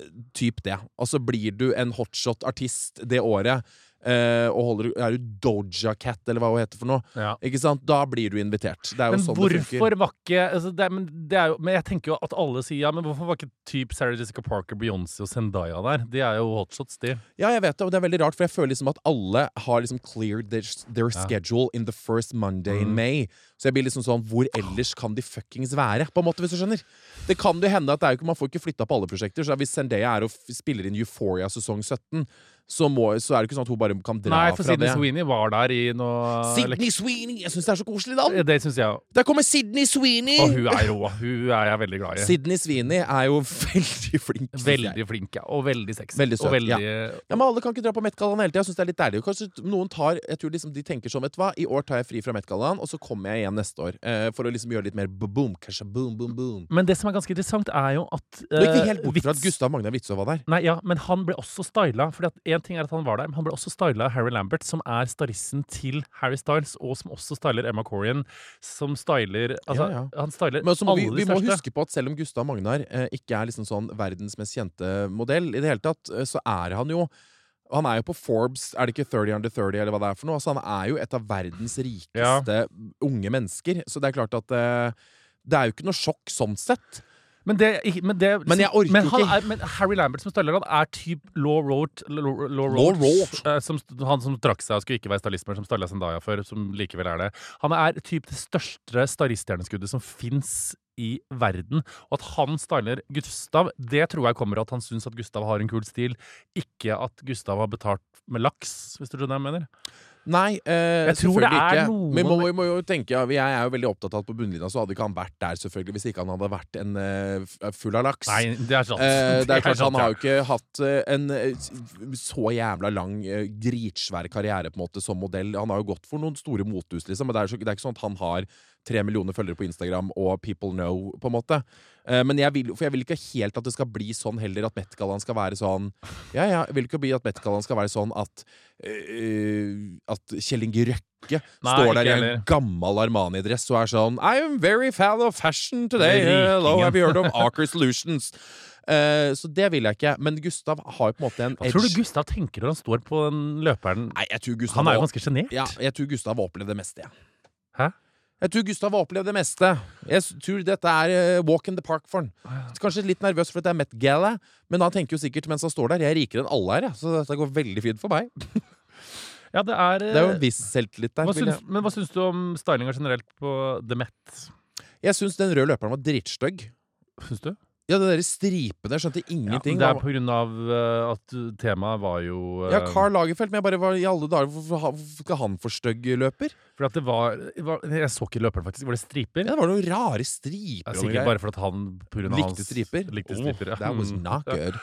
Speaker 3: eh, typ det. Altså, blir du en hotshot-artist det året, eh, og holder, er du Doja Cat, eller hva hun heter for noe,
Speaker 2: Ja.
Speaker 3: ikke sant? da blir du invitert. Det er jo
Speaker 2: Men
Speaker 3: sånn det funker.
Speaker 2: hvorfor var ikke altså det, er- men, det er jo, men jeg tenker jo at alle sier ja, men hvorfor var ikke typ Sarah Jessica Parker, Beyoncé og Zendaya der? De er jo hotshots, de.
Speaker 3: Ja, jeg vet det, og det er veldig rart, for jeg føler liksom at alle har liksom cleared their, their schedule in the first Monday
Speaker 2: Mm.
Speaker 3: in May. Så jeg blir liksom sånn, hvor ellers kan de fuckings være? På en måte, hvis du skjønner. Det kan jo hende at det er jo ikke, man får ikke flytta på alle prosjekter, så hvis Zendaya er og f- spiller inn Euphoria sesong 17, så, må, så er det ikke sånn at hun bare kan dra
Speaker 2: Nei, for
Speaker 3: fra
Speaker 2: Sidney
Speaker 3: det.
Speaker 2: Sweeney var der i noe
Speaker 3: Sydney Sweeney! Jeg syns det er så koselig
Speaker 2: Ja,
Speaker 3: navn!
Speaker 2: Det syns jeg òg.
Speaker 3: Der kommer Sydney Sweeney!
Speaker 2: Og hun er rå. Hun er jeg veldig glad i.
Speaker 3: Sydney Sweeney er jo *laughs* veldig flink. synes jeg.
Speaker 2: Veldig flink, ja. Og veldig sexy.
Speaker 3: Veldig søt,
Speaker 2: og veldig,
Speaker 3: Ja, men Alle kan ikke dra på Met-gallaen hele tida. Jeg synes det er litt deilig. Kanskje noen tar, jeg tror liksom de tenker sånn, vet du hva, i år tar jeg fri fra Met-gallaen, og så kommer jeg igjen neste år. Eh, for å liksom gjøre litt mer boom, kanskje boom, boom, boom.
Speaker 2: Men det som er ganske interessant, er jo at
Speaker 3: Nå gikk vi
Speaker 2: eh,
Speaker 3: helt bort fra at
Speaker 2: Witz-
Speaker 3: Gustav Magnar Witzøe var der.
Speaker 2: Nei, ja, men han ble også styla. Fordi at en ting er at Han var der, men han ble også styla av Harry Lambert, som er stylisten til Harry Styles, og som også styler Emma Corrin, som styler Altså,
Speaker 3: Ja, ja.
Speaker 2: han styler
Speaker 3: Men så må
Speaker 2: alle
Speaker 3: vi, vi
Speaker 2: de
Speaker 3: må
Speaker 2: største.
Speaker 3: huske på at selv om Gustav Magnar eh, ikke er liksom sånn verdens mest kjente modell, i det hele tatt, eh, så er han jo han er jo på Forbes, er det ikke 30 under 30, eller hva det er for noe? Altså, han er jo et av verdens rikeste unge mennesker. Så det er klart at eh, det er jo ikke noe sjokk sånn sett.
Speaker 2: Men, det, ikke- men, det,
Speaker 3: Men jeg orker
Speaker 2: men han
Speaker 3: ikke.
Speaker 2: Er, men Harry Lambert som styler han, er typ Law Roach Law, Law
Speaker 3: Law
Speaker 2: Roach,
Speaker 3: Roach.
Speaker 2: eh, som, Han som trakk seg og skulle ikke være stylist, men som styla Zendaya før, som likevel er det. Han er typ det største styliststjerneskuddet som fins i verden. Og at han styler Gustav, det tror jeg kommer av at han syns at Gustav har en kul stil, ikke at Gustav har betalt med laks, hvis du skjønner hva jeg mener.
Speaker 3: Nei, eh,
Speaker 2: Jeg tror det
Speaker 3: selvfølgelig
Speaker 2: er
Speaker 3: ikke.
Speaker 2: noen-
Speaker 3: Men vi må, vi må jo tenke, ja, jeg er jo veldig opptatt av at på bunnlinja så hadde ikke han vært der, selvfølgelig, hvis ikke han hadde vært en eh, f- full av laks.
Speaker 2: Nei, *laughs* det er sant.
Speaker 3: Eh, det er klart
Speaker 2: sant,
Speaker 3: Han
Speaker 2: ja.
Speaker 3: har jo ikke hatt eh, en eh, s- så jævla lang, eh, dritsvær karriere på en måte som modell. Han har jo gått for noen store mothus, liksom. Men det er, så, det er ikke sånn at han har tre millioner følgere på Instagram og people know, på en måte. Eh, men jeg vil, for jeg vil ikke helt at det skal bli sånn heller, at Met-gallaen skal være sånn Ja, ja, jeg vil ikke bli at Met-gallaen skal være sånn at eh, At Kjell Inge Røkke ikke
Speaker 2: Nei,
Speaker 3: står
Speaker 2: ikke
Speaker 3: der i
Speaker 2: heller.
Speaker 3: en gammel Armani-dress og er sånn I'm very fan of fashion today.
Speaker 2: Det er
Speaker 3: Hello,
Speaker 2: rikingen.
Speaker 3: have you heard of Aker Solutions? Eh, så det vil jeg ikke. Men Gustav har jo på en måte en
Speaker 2: Hva tror du Gustav tenker når han står på den løperen?
Speaker 3: Nei, jeg tror Gustav
Speaker 2: Han er jo
Speaker 3: har-
Speaker 2: ganske sjenert.
Speaker 3: ja, jeg tror Gustav har opplevd det meste, jeg.
Speaker 2: Hæ?
Speaker 3: Jeg tror Gustav har opplevd det meste. Jeg s- tror dette er eh, walk in the park for han. Så Kanskje litt nervøs for at det er Met Gala, men han tenker jo sikkert mens han står der Jeg er rikere enn alle her, jeg, så dette går veldig fint for meg.
Speaker 2: Ja, det er, eh,
Speaker 3: Det er jo en viss selvtillit der.
Speaker 2: hva
Speaker 3: vil
Speaker 2: syns, Men hva syns du om stylinga generelt på The Met?
Speaker 3: jeg jeg syns den røde løperen var drittstygg.
Speaker 2: Syns du?
Speaker 3: Ja, det derre stripene, jeg skjønte
Speaker 2: Ja,
Speaker 3: ingenting.
Speaker 2: det er
Speaker 3: hva-
Speaker 2: på grunn av eh, at temaet var jo eh,
Speaker 3: ja, Carl Lagerfeldt, men jeg bare var i alle dager Hvorfor ha- hvorfor skal han for stygg løper?
Speaker 2: For at det var, det var Jeg så ikke løperen, faktisk. Var det striper?
Speaker 3: Ja, det var noen rare
Speaker 2: Det
Speaker 3: striper.
Speaker 2: er
Speaker 3: og
Speaker 2: sikkert
Speaker 3: greier.
Speaker 2: bare fordi han på grunn av
Speaker 3: Likte
Speaker 2: hans-
Speaker 3: striper.
Speaker 2: Likte
Speaker 3: Oh,
Speaker 2: striper, ja.
Speaker 3: That was
Speaker 2: Mm.
Speaker 3: not good.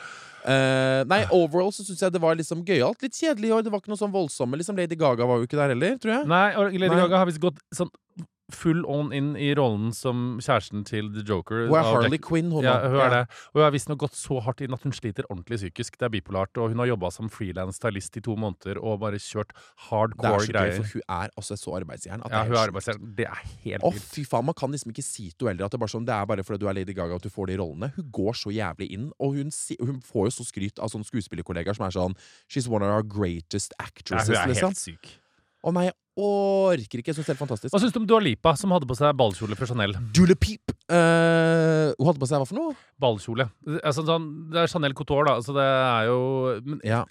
Speaker 3: Eh, nei, overall så syns jeg det var liksom gøyalt. Litt kjedelig i år. Det var ikke noe sånn voldsomme. Liksom Lady Gaga var jo ikke der heller, tror jeg.
Speaker 2: Nei, og Lady
Speaker 3: Nei.
Speaker 2: Gaga har visst gått sånn full on inn i rollen som kjæresten til The Joker.
Speaker 3: Hun er
Speaker 2: av
Speaker 3: Harley
Speaker 2: Jack-
Speaker 3: Quinn, hun
Speaker 2: ja,
Speaker 3: nå.
Speaker 2: hun er det. Og hun har visstnok gått så hardt inn at hun sliter ordentlig psykisk. Det er bipolart. Og hun har jobba som frilans stylist i to måneder og bare kjørt
Speaker 3: Det er
Speaker 2: hardcore
Speaker 3: så gøy,
Speaker 2: greier.
Speaker 3: for hun er altså så arbeidsjern. at
Speaker 2: Ja, hun er
Speaker 3: det helt sjukt.
Speaker 2: arbeidsjern. Det er helt
Speaker 3: Å,
Speaker 2: vilt.
Speaker 3: fy faen, man kan liksom ikke si til henne heller at det er bare sånn Det er bare fordi du er Lady Gaga at du får de rollene. Hun går så jævlig inn, og hun, si, hun får jo så skryt av sånne skuespillerkollegaer som er sånn She's one of our greatest
Speaker 2: Ja,
Speaker 3: actresses,
Speaker 2: hun er
Speaker 3: liksom.
Speaker 2: helt syk.
Speaker 3: Å nei, jeg orker ikke. Jeg syns det er helt fantastisk.
Speaker 2: Hva syns du om Dua Lipa, som hadde på seg ballkjole fra Chanel?
Speaker 3: Dula Peep! eh, hun hadde på seg hva for noe?
Speaker 2: Ballkjole. Altså, sånn, det er Chanel Couture, da, så det er jo men,
Speaker 3: Ja.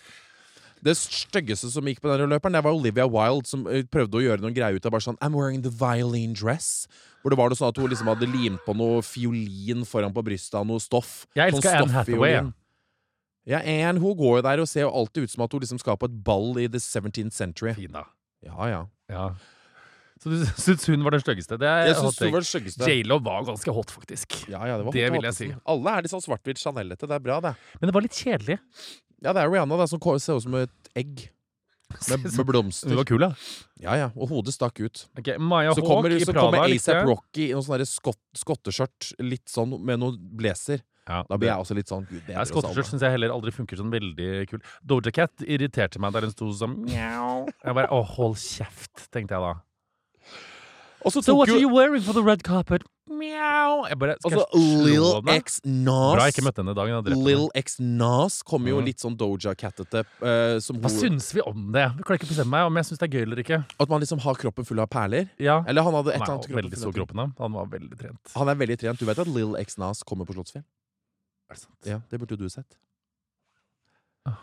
Speaker 3: Det styggeste som gikk på den røde løperen, det var Olivia Wilde som eh, prøvde å gjøre noen greier ut av bare sånn I'm wearing the violin dress. Hvor det var noe sånn at hun liksom hadde limt på noe fiolin foran på brystet av noe stoff.
Speaker 2: Jeg
Speaker 3: Sånn
Speaker 2: elsker Anne Hathaway.
Speaker 3: stofffiolin. Ja, Anne, hun går jo der og ser jo alltid ut som at hun liksom skal på et ball i the 17th century.
Speaker 2: Fin, da.
Speaker 3: Ja, ja.
Speaker 2: Ja. Så du *laughs* syns hun var den styggeste? Det er
Speaker 3: Jeg
Speaker 2: Eh, hot
Speaker 3: syns
Speaker 2: take.
Speaker 3: hun var den styggeste.
Speaker 2: J.Lo var ganske hot, faktisk.
Speaker 3: Ja, ja, det var
Speaker 2: Det
Speaker 3: hot,
Speaker 2: vil jeg
Speaker 3: hot.
Speaker 2: si.
Speaker 3: Alle er litt sånn svart-hvitt Chanel-ete. Det er bra, det.
Speaker 2: Men det var litt kjedelig.
Speaker 3: Ja, det er Rihanna det, som ko- ser ut som et
Speaker 2: *laughs*
Speaker 3: egg med, med
Speaker 2: Hun
Speaker 3: blomster.
Speaker 2: var kul, da.
Speaker 3: Ja, ja. Og hodet stakk ut.
Speaker 2: Ok, Maya
Speaker 3: så
Speaker 2: Hawk
Speaker 3: kommer,
Speaker 2: i
Speaker 3: så
Speaker 2: Prada.
Speaker 3: kommer
Speaker 2: likte
Speaker 3: ASAP
Speaker 2: jeg.
Speaker 3: Rocky i noe sånn derre skott, skotteskjørt, litt sånn med noe blazer.
Speaker 2: Ja,
Speaker 3: Da blir jeg også litt sånn Gud,
Speaker 2: Ja,
Speaker 3: bedre oss
Speaker 2: Skotteskjørt
Speaker 3: alle.
Speaker 2: syns jeg heller aldri funker sånn veldig kul. Doja Cat irriterte meg der hun sto som mjau. Jeg bare Å, hold kjeft, tenkte jeg da.
Speaker 3: Og så
Speaker 2: So what
Speaker 3: tok
Speaker 2: are you
Speaker 3: jo
Speaker 2: wearing for the red carpet? Mjau. Jeg bare Skal
Speaker 3: altså,
Speaker 2: jeg slå
Speaker 3: Lil
Speaker 2: henne?
Speaker 3: X
Speaker 2: Bra jeg ikke
Speaker 3: Nas
Speaker 2: møtte henne i dag. hun hadde drept
Speaker 3: Lil
Speaker 2: henne.
Speaker 3: X Nas kommer jo
Speaker 2: Mm.
Speaker 3: litt sånn Doja Cat-ete. eh, som
Speaker 2: Hva
Speaker 3: hun-
Speaker 2: syns vi om det? Jeg klarer ikke å bestemme meg om jeg syns det er gøy eller ikke.
Speaker 3: at man liksom har kroppen full av perler.
Speaker 2: Ja,
Speaker 3: Eller han hadde et
Speaker 2: Han
Speaker 3: eller
Speaker 2: er
Speaker 3: annet
Speaker 2: jo veldig stor
Speaker 3: full av-
Speaker 2: kroppen, da. Han var veldig trent.
Speaker 3: Han er veldig trent. Du vet at Lil X Nas kommer på Slottsfjell?
Speaker 2: Er det sant?
Speaker 3: Ja, det burde jo du sett.
Speaker 2: Ah.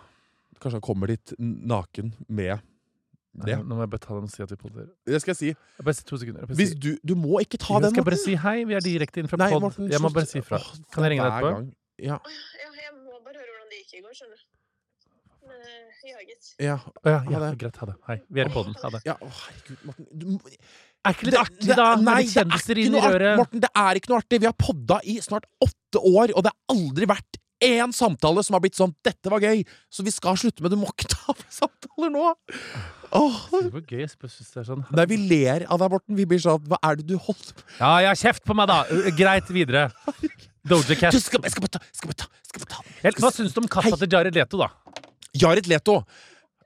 Speaker 3: Kanskje han kommer dit n- naken med
Speaker 2: Nei,
Speaker 3: det.
Speaker 2: Nå må jeg bare ta den og si at vi podder.
Speaker 3: Det skal jeg si.
Speaker 2: Jeg bare si to sekunder. Jeg bare
Speaker 3: Hvis
Speaker 2: si-
Speaker 3: du, du må ikke ta
Speaker 2: Jo,
Speaker 3: den,
Speaker 2: skal jeg bare
Speaker 3: Morten.
Speaker 2: si hei, vi er direkte inn fra
Speaker 3: Nei,
Speaker 2: pod.
Speaker 3: Morten,
Speaker 2: jeg må
Speaker 3: slutt.
Speaker 2: bare si fra.
Speaker 3: Åh,
Speaker 2: Kan jeg ringe deg
Speaker 3: hver
Speaker 2: etterpå?
Speaker 3: gang. Ja,
Speaker 4: Ja, jeg må bare høre hvordan det gikk i går, skjønner du. Men eh, jaget.
Speaker 3: ja,
Speaker 2: Å Ja,
Speaker 3: Ha
Speaker 2: ja,
Speaker 3: det.
Speaker 2: greit, ha det. Hei, vi er i poden. Ha det.
Speaker 3: ja. Å, herregud, Morten. Du, må-
Speaker 2: Er ikke
Speaker 3: Det-
Speaker 2: litt artig,
Speaker 3: det-
Speaker 2: da? med
Speaker 3: nei,
Speaker 2: litt
Speaker 3: det er
Speaker 2: kjendiser
Speaker 3: ikke
Speaker 2: inn i
Speaker 3: noe artig,
Speaker 2: røret.
Speaker 3: Morten, det er ikke noe artig. Vi har podda i snart åtte år, og det har aldri vært én samtale som har blitt sånn 'Dette var gøy', så vi skal slutte med det. Du må ikke *laughs* ta med samtaler nå! Åh.
Speaker 2: Det var gøy, jeg synes det er sånn.
Speaker 3: Nei, vi ler av deg, Morten. Vi blir sånn Hva er det du holder på med?
Speaker 2: Ja, ja, kjeft på meg, da! Uh, Greit, videre.
Speaker 3: *laughs*
Speaker 2: Doja Cat.
Speaker 3: Du, Skal, jeg skal bare ta, skal bare ta, skal bare ta.
Speaker 2: Jeg- Hva syns du om katta til Jared Leto, da?
Speaker 3: Jared Leto.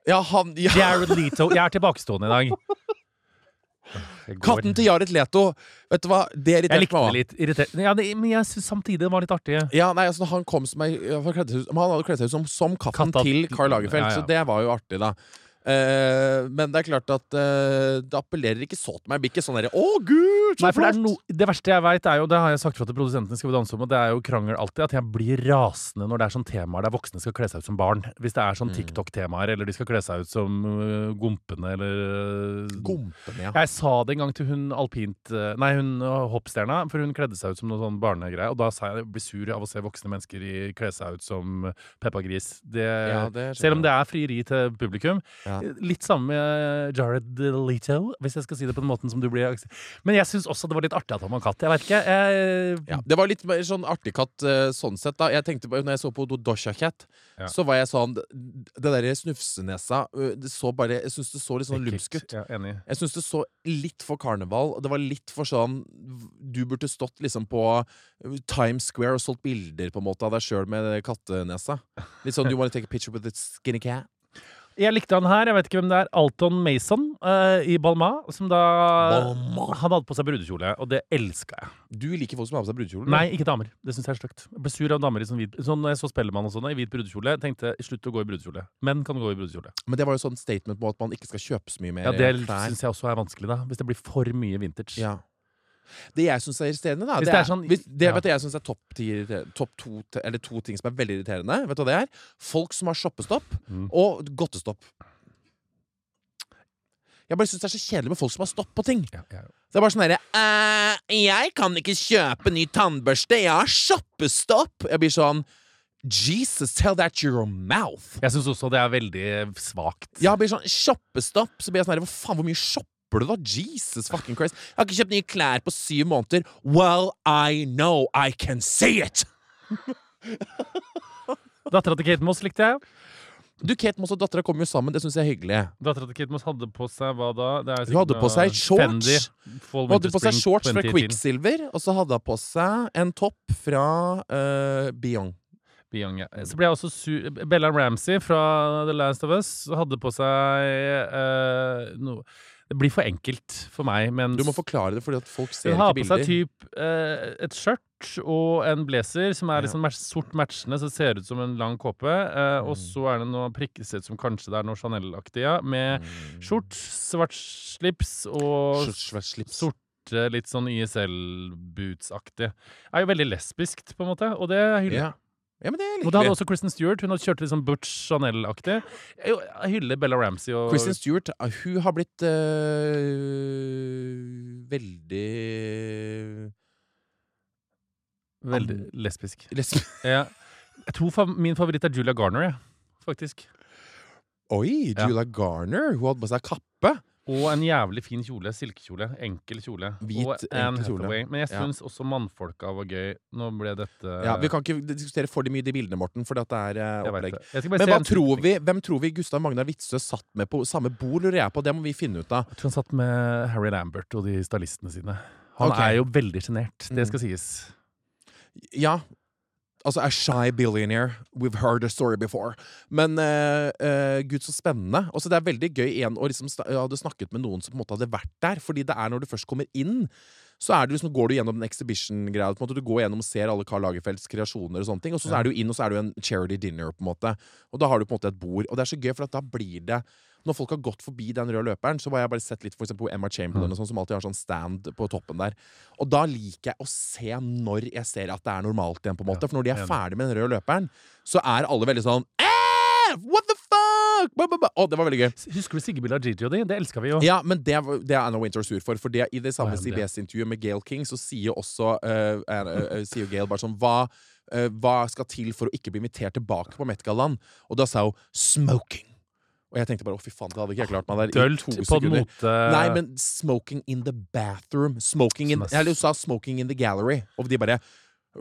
Speaker 3: Ja, han ja.
Speaker 2: Jared Leto. Jeg er tilbakestående i dag. Jeg går.
Speaker 3: Katten til Jared Leto. Vet du hva, det
Speaker 2: Jeg
Speaker 3: irriterte meg.
Speaker 2: likte
Speaker 3: også.
Speaker 2: det litt irriterende. Ja, det, men jeg syns samtidig det var litt artig.
Speaker 3: Ja, nei, altså Han kom som ei ja, for han kledde seg ut- men Han hadde kledd seg ut som, som katten
Speaker 2: Katta-
Speaker 3: til Karl Lagerfeldt,
Speaker 2: Ja, ja.
Speaker 3: så det var jo artig, da. Eh, men det er klart at eh, det appellerer ikke så til meg. Det Blir ikke sånn derre 'Å, gud, så
Speaker 2: Nei, for det, er
Speaker 3: flott!»
Speaker 2: no, det verste jeg veit, er jo Det har jeg sagt fra til produsentene, skal vi danse om, og det er jo krangel alltid, at jeg blir rasende når det er sånn temaer der voksne skal kle seg ut som barn. Hvis det er sånn
Speaker 3: Mm.
Speaker 2: TikTok-temaer, eller de skal kle seg ut som øh, gompene, eller øh,
Speaker 3: Gompen, ja.
Speaker 2: Jeg sa det en gang til hun alpint øh, Nei, hun øh, hoppstjerna, for hun kledde seg ut som noe sånn barnegreie, og da sa jeg jeg blir sur av å se voksne mennesker i, kle seg ut som øh, Peppa Gris. Det,
Speaker 3: Ja, det skjønner
Speaker 2: eh, selv om det er frieri til publikum.
Speaker 3: Ja.
Speaker 2: Litt samme med Jared Leto, hvis jeg skal si det på den måten som du blir. Men jeg syns også det var litt artig at han var katt. Jeg eh, vet ikke. Jeg,
Speaker 3: Ja, det var litt mer sånn artig katt eh, sånn sett. da Jeg tenkte på, Når jeg så på Do- Doja Cat,
Speaker 2: Ja.
Speaker 3: så var jeg sånn Det det derre snufsenesa eh, Det så bare Jeg syns det så litt sånn lumsk ut.
Speaker 2: Ja, enig.
Speaker 3: Jeg syns det så litt for karneval. og Det var litt for sånn Du burde stått liksom på Times Square og solgt bilder på en måte av deg sjøl med kattenesa. Litt sånn You wanna take a picture with a skinny cat?
Speaker 2: Jeg likte han her. Jeg vet ikke hvem det er. Alton Mason eh, i Balma. Som da
Speaker 3: Balmain.
Speaker 2: Han hadde på seg brudekjole, og det elska jeg.
Speaker 3: Du liker folk som har på seg brudekjole? du.
Speaker 2: Nei, ikke damer. Det syns jeg er stygt. Jeg Ble sur av damer i sånn hvit Sånn når jeg så Spellemann og sånne i hvit brudekjole. Tenkte slutt å gå i brudekjole. Menn kan gå i brudekjole.
Speaker 3: Men det var jo sånn statement på at man ikke skal kjøpe så mye mer
Speaker 2: Ja, Det
Speaker 3: klær.
Speaker 2: syns jeg også er vanskelig, da. Hvis det blir for mye vintage.
Speaker 3: Ja. Det jeg syns er irriterende, da
Speaker 2: Hvis det
Speaker 3: det
Speaker 2: er
Speaker 3: er,
Speaker 2: sånn-
Speaker 3: hvis, det,
Speaker 2: ja.
Speaker 3: vet du, jeg synes er topp ti irriterende- topp to, te- eller to ting som er veldig irriterende. Vet du hva det er? Folk som har shoppestopp
Speaker 2: Mm.
Speaker 3: og godtestopp. Jeg bare syns det er så kjedelig med folk som har stopp på ting.
Speaker 2: Ja, ja.
Speaker 3: Det er bare sånn derre «Eh, Jeg kan ikke kjøpe ny tannbørste, jeg har shoppestopp! Jeg blir sånn Jesus, tell that to your mouth!
Speaker 2: Jeg syns også det er veldig svakt.
Speaker 3: Jeg blir sånn shoppestopp. Så blir jeg sånn her, Hvor faen, hvor mye shopper du, da? Jesus fucking Christ. Jeg har ikke kjøpt nye klær på syv måneder. Well, I know I can see it!
Speaker 2: Dattera til Kate Moss likte jeg.
Speaker 3: Du, Kate Moss og dattera kommer jo sammen. Det syns jeg er hyggelig.
Speaker 2: Dattera til Kate Moss hadde på seg hva da? Det er
Speaker 3: Hun hadde
Speaker 2: sikkert
Speaker 3: på seg
Speaker 2: noe
Speaker 3: shorts.
Speaker 2: Fendi, Fall
Speaker 3: Hun hadde
Speaker 2: Winter
Speaker 3: på seg
Speaker 2: Spring
Speaker 3: shorts fra
Speaker 2: 2010.
Speaker 3: Quicksilver, og så hadde hun på seg en topp fra uh, Beyond.
Speaker 2: Beyond, ja. Så ble jeg også sur Bella Ramsey fra The Last of Us hadde på seg eh, noe Det blir for enkelt for meg, men
Speaker 3: Du må forklare det, fordi at folk ser
Speaker 2: hun har
Speaker 3: ikke
Speaker 2: på
Speaker 3: bilder.
Speaker 2: seg typ eh, et skjørt og en blazer som er
Speaker 3: Ja.
Speaker 2: liksom match, sort matchende, så det ser ut som en lang kåpe. eh, Og
Speaker 3: Mm.
Speaker 2: så er det noe prikkesett som kanskje det er noe Chanel-aktig, ja,
Speaker 3: Mm.
Speaker 2: med skjorts, svart slips og
Speaker 3: Skjorts, svart slips.
Speaker 2: sorte, litt sånn YSL-boots-aktig. Er jo veldig lesbisk, på en måte, og det hyller jeg.
Speaker 3: Ja. ja, men det
Speaker 2: Og det
Speaker 3: liker
Speaker 2: hadde
Speaker 3: vi.
Speaker 2: også Kristen Stewart. Hun hadde kjørt litt sånn Butch Chanel-aktig. Jeg jo- jeg hyller Bella Ramsey og
Speaker 3: Kristen Stewart, eh, hun har blitt eh, veldig eh,
Speaker 2: Veldig lesbisk.
Speaker 3: lesb-
Speaker 2: Ja. Jeg tror fa min favoritt er Julia Garner, jeg. faktisk.
Speaker 3: Oi,
Speaker 2: Ja.
Speaker 3: Julia Garner. Hun hadde på seg kappe.
Speaker 2: Og en jævlig fin kjole. Silkekjole. Enkel kjole.
Speaker 3: Hvit,
Speaker 2: og Anne
Speaker 3: enkel kjole.
Speaker 2: Hathaway. Men jeg
Speaker 3: Ja.
Speaker 2: syns også mannfolka var gøy. Nå ble dette
Speaker 3: Ja, vi kan ikke diskutere for mye de bildene, Morten, for det er eh,
Speaker 2: Eh. jeg vet
Speaker 3: opplegg.
Speaker 2: det. Jeg skal bare
Speaker 3: Men
Speaker 2: se
Speaker 3: hva
Speaker 2: en
Speaker 3: tror
Speaker 2: slutning.
Speaker 3: vi, hvem tror vi Gustav Magnar Witzøe satt med på samme bord, lurer jeg på? Det må vi finne ut av.
Speaker 2: Jeg tror han satt med Harry Lambert og de stylistene sine. Han
Speaker 3: Ok. Mm.
Speaker 2: er jo veldig sjenert. Det skal sies.
Speaker 3: Ja. Altså, a shy billionaire. We've heard a story before. Men eh, eh, gud, så spennende. Også, det er veldig gøy igjen å liksom, sta- hadde snakket med noen som på en måte hadde vært der. Fordi det er når du først kommer inn, så er det liksom, går du gjennom den exhibition-greia. på en måte. Du går gjennom og ser alle Karl Lagerfelds kreasjoner, og sånne ting, og så, så er du inn, og så er du en charity dinner. på en måte. Og da har du på en måte et bord. Og det er så gøy, for at da blir det Når folk har gått forbi den røde løperen, så har jeg bare sett litt for eksempel Emma Chamberlain, og sånn, som alltid har sånn stand på toppen der. Og da liker jeg å se når jeg ser at det er normalt igjen, på en måte. For når de er
Speaker 2: enig.
Speaker 3: ferdig med den røde løperen, så er alle veldig sånn «Eh, What the fuck? Ba, ba, ba. Å, det var veldig gøy.
Speaker 2: Husker du Sigge Billa Gigi og de? Det elska vi jo.
Speaker 3: Ja, men det, var- det er Anna Winter sur for. For det, i det samme
Speaker 2: Hva er det?
Speaker 3: CBS-intervjuet med Gail King, så sier jo også eh, Anna- eh, sier jo Gail bare sånn hva, eh, hva skal til for å ikke bli invitert tilbake på Metgaland? Og da sa hun 'smoking'. Og jeg tenkte bare å, fy faen, det hadde ikke jeg klart meg der i
Speaker 2: Dølt
Speaker 3: to
Speaker 2: på en
Speaker 3: sekunder.
Speaker 2: mote
Speaker 3: Nei, men 'smoking in the bathroom'. Smoking in,
Speaker 2: Eh, Som er-
Speaker 3: eller hun sa 'smoking in the gallery'. Og de bare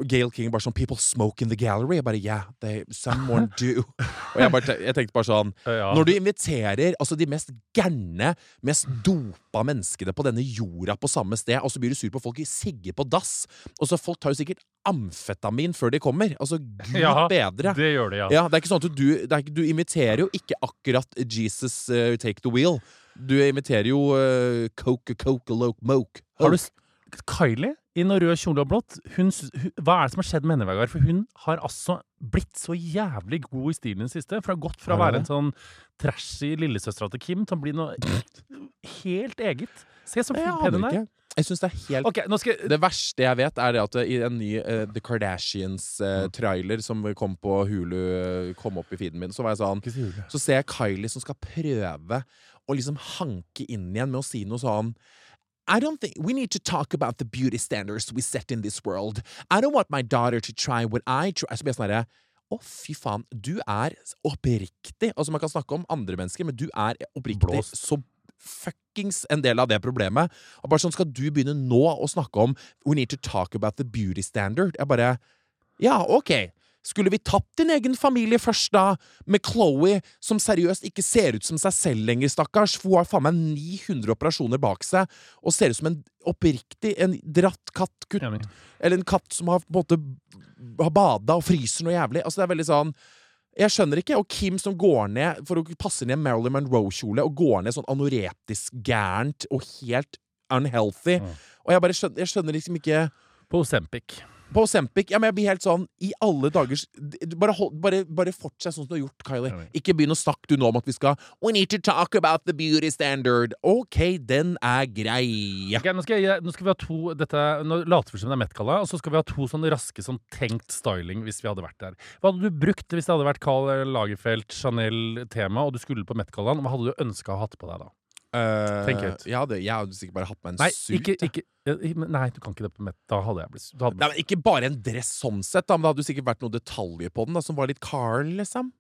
Speaker 3: Gail King bare sånn 'People smoke in the gallery'. Jeg bare yeah, they, someone do.
Speaker 2: *laughs*
Speaker 3: Og jeg, bare, jeg tenkte bare sånn
Speaker 2: Ja.
Speaker 3: Når du inviterer altså de mest gærne, mest dopa menneskene på denne jorda på samme sted, og så blir du sur på folk i sigge på dass Og så Folk tar jo sikkert amfetamin før de kommer. Altså, gud
Speaker 2: Ja,
Speaker 3: bedre.
Speaker 2: Det gjør det, ja.
Speaker 3: Ja, det er ikke sånn at du, det er, ikke- du imiterer jo ikke akkurat Jesus eh, Take the Wheel. Du imiterer jo eh, Coke, Coke, Loke, Moke.
Speaker 2: Har du s- Kylie i noe rød kjole og blått, hun, sy- hun, hva er det som har skjedd med henne, Vegard? For hun har altså blitt så jævlig god i stilen i det siste. Fra gått fra å
Speaker 3: Har
Speaker 2: være
Speaker 3: hun
Speaker 2: en sånn trashy lillesøstera til Kim til å bli noe helt eget. Se så
Speaker 3: Jeg
Speaker 2: fin
Speaker 3: aner
Speaker 2: pen hun er.
Speaker 3: ikke. Jeg syns det er helt
Speaker 2: Ok, nå skal jeg
Speaker 3: Det verste jeg vet, er det at i en ny eh, The
Speaker 2: Mm.
Speaker 3: Kardashians-trailer som kom på Hulu, eh, kom opp i feeden min, så var jeg sånn Så ser jeg Kylie som skal prøve å liksom hanke inn igjen med å si noe sånn I don't think we need to talk about the beauty standards we set in this world. I don't want my daughter to try what I try. Så blir jeg sånn herre Å, fy faen. Du er oppriktig. Altså, man kan snakke om andre mennesker, men du er oppriktig
Speaker 2: Blåst.
Speaker 3: så fuckings en del av det problemet. Og bare sånn skal du begynne nå å snakke om We need to talk about the beauty standard. Jeg bare Ja, ok. Skulle vi tatt din egen familie først, da? Med Chloé, som seriøst ikke ser ut som seg selv lenger, stakkars. For hun har faen meg 900 operasjoner bak seg, og ser ut som en oppriktig en dratt katt. Kutt,
Speaker 2: Enig.
Speaker 3: eller en katt som har på en måte har bada og fryser noe jævlig. Altså, det er veldig sånn Jeg skjønner ikke. Og Kim som går ned for å passe ned Marilyn Monroe-kjole, og går ned sånn anoretisk gærent og helt unhealthy.
Speaker 2: Mm.
Speaker 3: Og jeg bare skjønner, jeg skjønner liksom ikke
Speaker 2: På Osempic.
Speaker 3: På Ozempic ja, men jeg blir helt sånn I alle dagers du- Bare, hold, bare, bare fortsett sånn som du har gjort, Kylie.
Speaker 2: Enig.
Speaker 3: Ikke begynn å snakke du nå om at vi skal We need to talk about the beauty standard. OK, den er grei.
Speaker 2: Ok, nå, skal jeg, nå skal vi ha to dette, Nå later vi som det er Met-galla, og så skal vi ha to sånn raske sånn tenkt styling hvis vi hadde vært der. Hva hadde du brukt hvis det hadde vært Carl Lagerfeld, Chanel-tema, og du skulle på Met-gallaen? Hva hadde du ønska å ha hatt på deg da?
Speaker 3: Eh,
Speaker 2: Tenk litt.
Speaker 3: Jeg hadde, jeg hadde sikkert bare hatt meg en
Speaker 2: Nei,
Speaker 3: suit.
Speaker 2: ikke,
Speaker 3: jeg.
Speaker 2: ikke, eh, men nei, du kan ikke det på Met. Da hadde jeg blitt da hadde,
Speaker 3: Nei, men ikke bare en dress sånn sett, da, men det hadde jo sikkert vært noen detaljer på den da, som var litt Carl, liksom.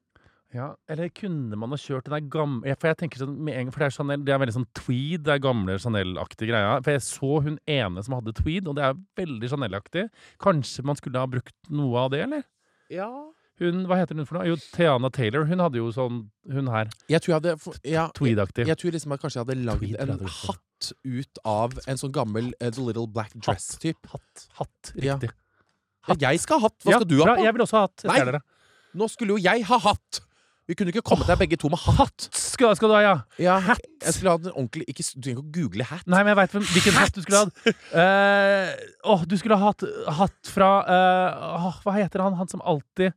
Speaker 2: ja, Eller kunne man ha kjørt den der gamle For jeg tenker sånn med en gang, for det er Chanel, det er veldig sånn tweed, det er gamle Chanel-aktige greia. For jeg så hun ene som hadde tweed, og det er veldig Chanel-aktig. Kanskje man skulle ha brukt noe av det, eller?
Speaker 3: Ja.
Speaker 2: Hun, hva heter hun for noe? Jo, Theana Taylor. Hun hadde jo sånn Hun her.
Speaker 3: Jeg tror jeg hadde f- ja, jeg,
Speaker 2: Tweed-aktig.
Speaker 3: jeg tror liksom at kanskje jeg hadde lagd
Speaker 2: Tweed, tror jeg
Speaker 3: en
Speaker 2: det heter.
Speaker 3: hatt ut av en sånn gammel eh, The Little Black Dress-type.
Speaker 2: Hatt. Hatt.
Speaker 3: Ja.
Speaker 2: Riktig.
Speaker 3: Ja, jeg skal ha hatt! Hva skal du ha
Speaker 2: bra,
Speaker 3: på?
Speaker 2: Jeg vil også ha hatt. Jeg
Speaker 3: Nei.
Speaker 2: ser dere.
Speaker 3: Nå skulle jo jeg ha hatt! Vi kunne ikke kommet der begge to med hatt.
Speaker 2: Skal, skal du ha, ja?
Speaker 3: Ja, Jeg skulle ha den ordentlig ikke, Du trenger ikke å google hat.
Speaker 2: Nei, men jeg veit hvilken hatt du skulle hatt. Eh, Åh, du skulle ha hatt hatt fra eh, åh, Hva heter han? Han som alltid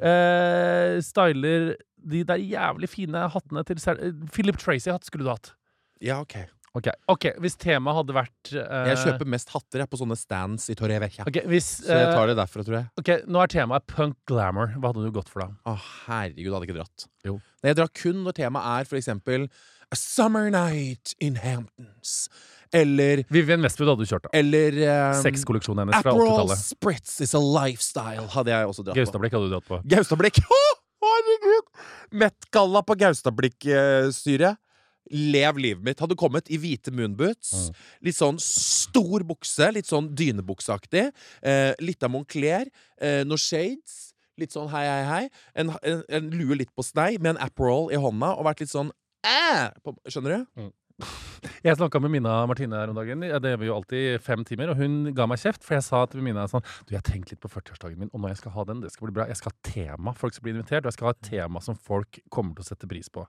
Speaker 2: eh, styler de der jævlig fine hattene til sel- eh, Philip Tracy-hatt skulle du hatt.
Speaker 3: Ja, ok
Speaker 2: Ok, ok, Hvis temaet hadde vært eh,
Speaker 3: Jeg kjøper mest hatter jeg, på sånne stands i Torrevecchia.
Speaker 2: ok, hvis,
Speaker 3: Så jeg
Speaker 2: eh,
Speaker 3: tar det derfra, tror jeg.
Speaker 2: ok, Nå er temaet punk glamour. Hva hadde du gått for da?
Speaker 3: Å, herregud, hadde jeg ikke dratt.
Speaker 2: Jo.
Speaker 3: Nei, jeg drar kun når temaet er for eksempel A Summer Night in Hamptons. Eller
Speaker 2: Vivian Westwood hadde du kjørt, da.
Speaker 3: Eller um,
Speaker 2: Sexkolleksjonen hennes fra
Speaker 3: Aperol
Speaker 2: 80-tallet.
Speaker 3: Spritz is a lifestyle, hadde jeg også dratt på.
Speaker 2: Gaustablikk hadde du dratt på.
Speaker 3: Gaustablikk! *laughs* Å, herregud! Met-galla på Gaustablikk-styret. Lev livet mitt. Hadde kommet i hvite moonboots.
Speaker 2: Mm.
Speaker 3: Litt sånn stor bukse. Litt sånn dynebukseaktig. Eh, litt av Moncler. Eh, noe shades. Litt sånn hei, hei, hei. En, en, en lue litt på snei med en Aperol i hånda og vært litt sånn æ! På, skjønner du?
Speaker 2: Jeg snakka med Mina Martine her om dagen. Ja, Det gjør vi jo alltid i fem timer. Og hun ga meg kjeft, for jeg sa til Mina sånn Du, jeg har tenkt litt på 40-årsdagen min, og når jeg skal ha den, det skal bli bra. Jeg skal ha tema folk skal bli invitert, og jeg skal ha et tema som folk kommer til å sette pris på.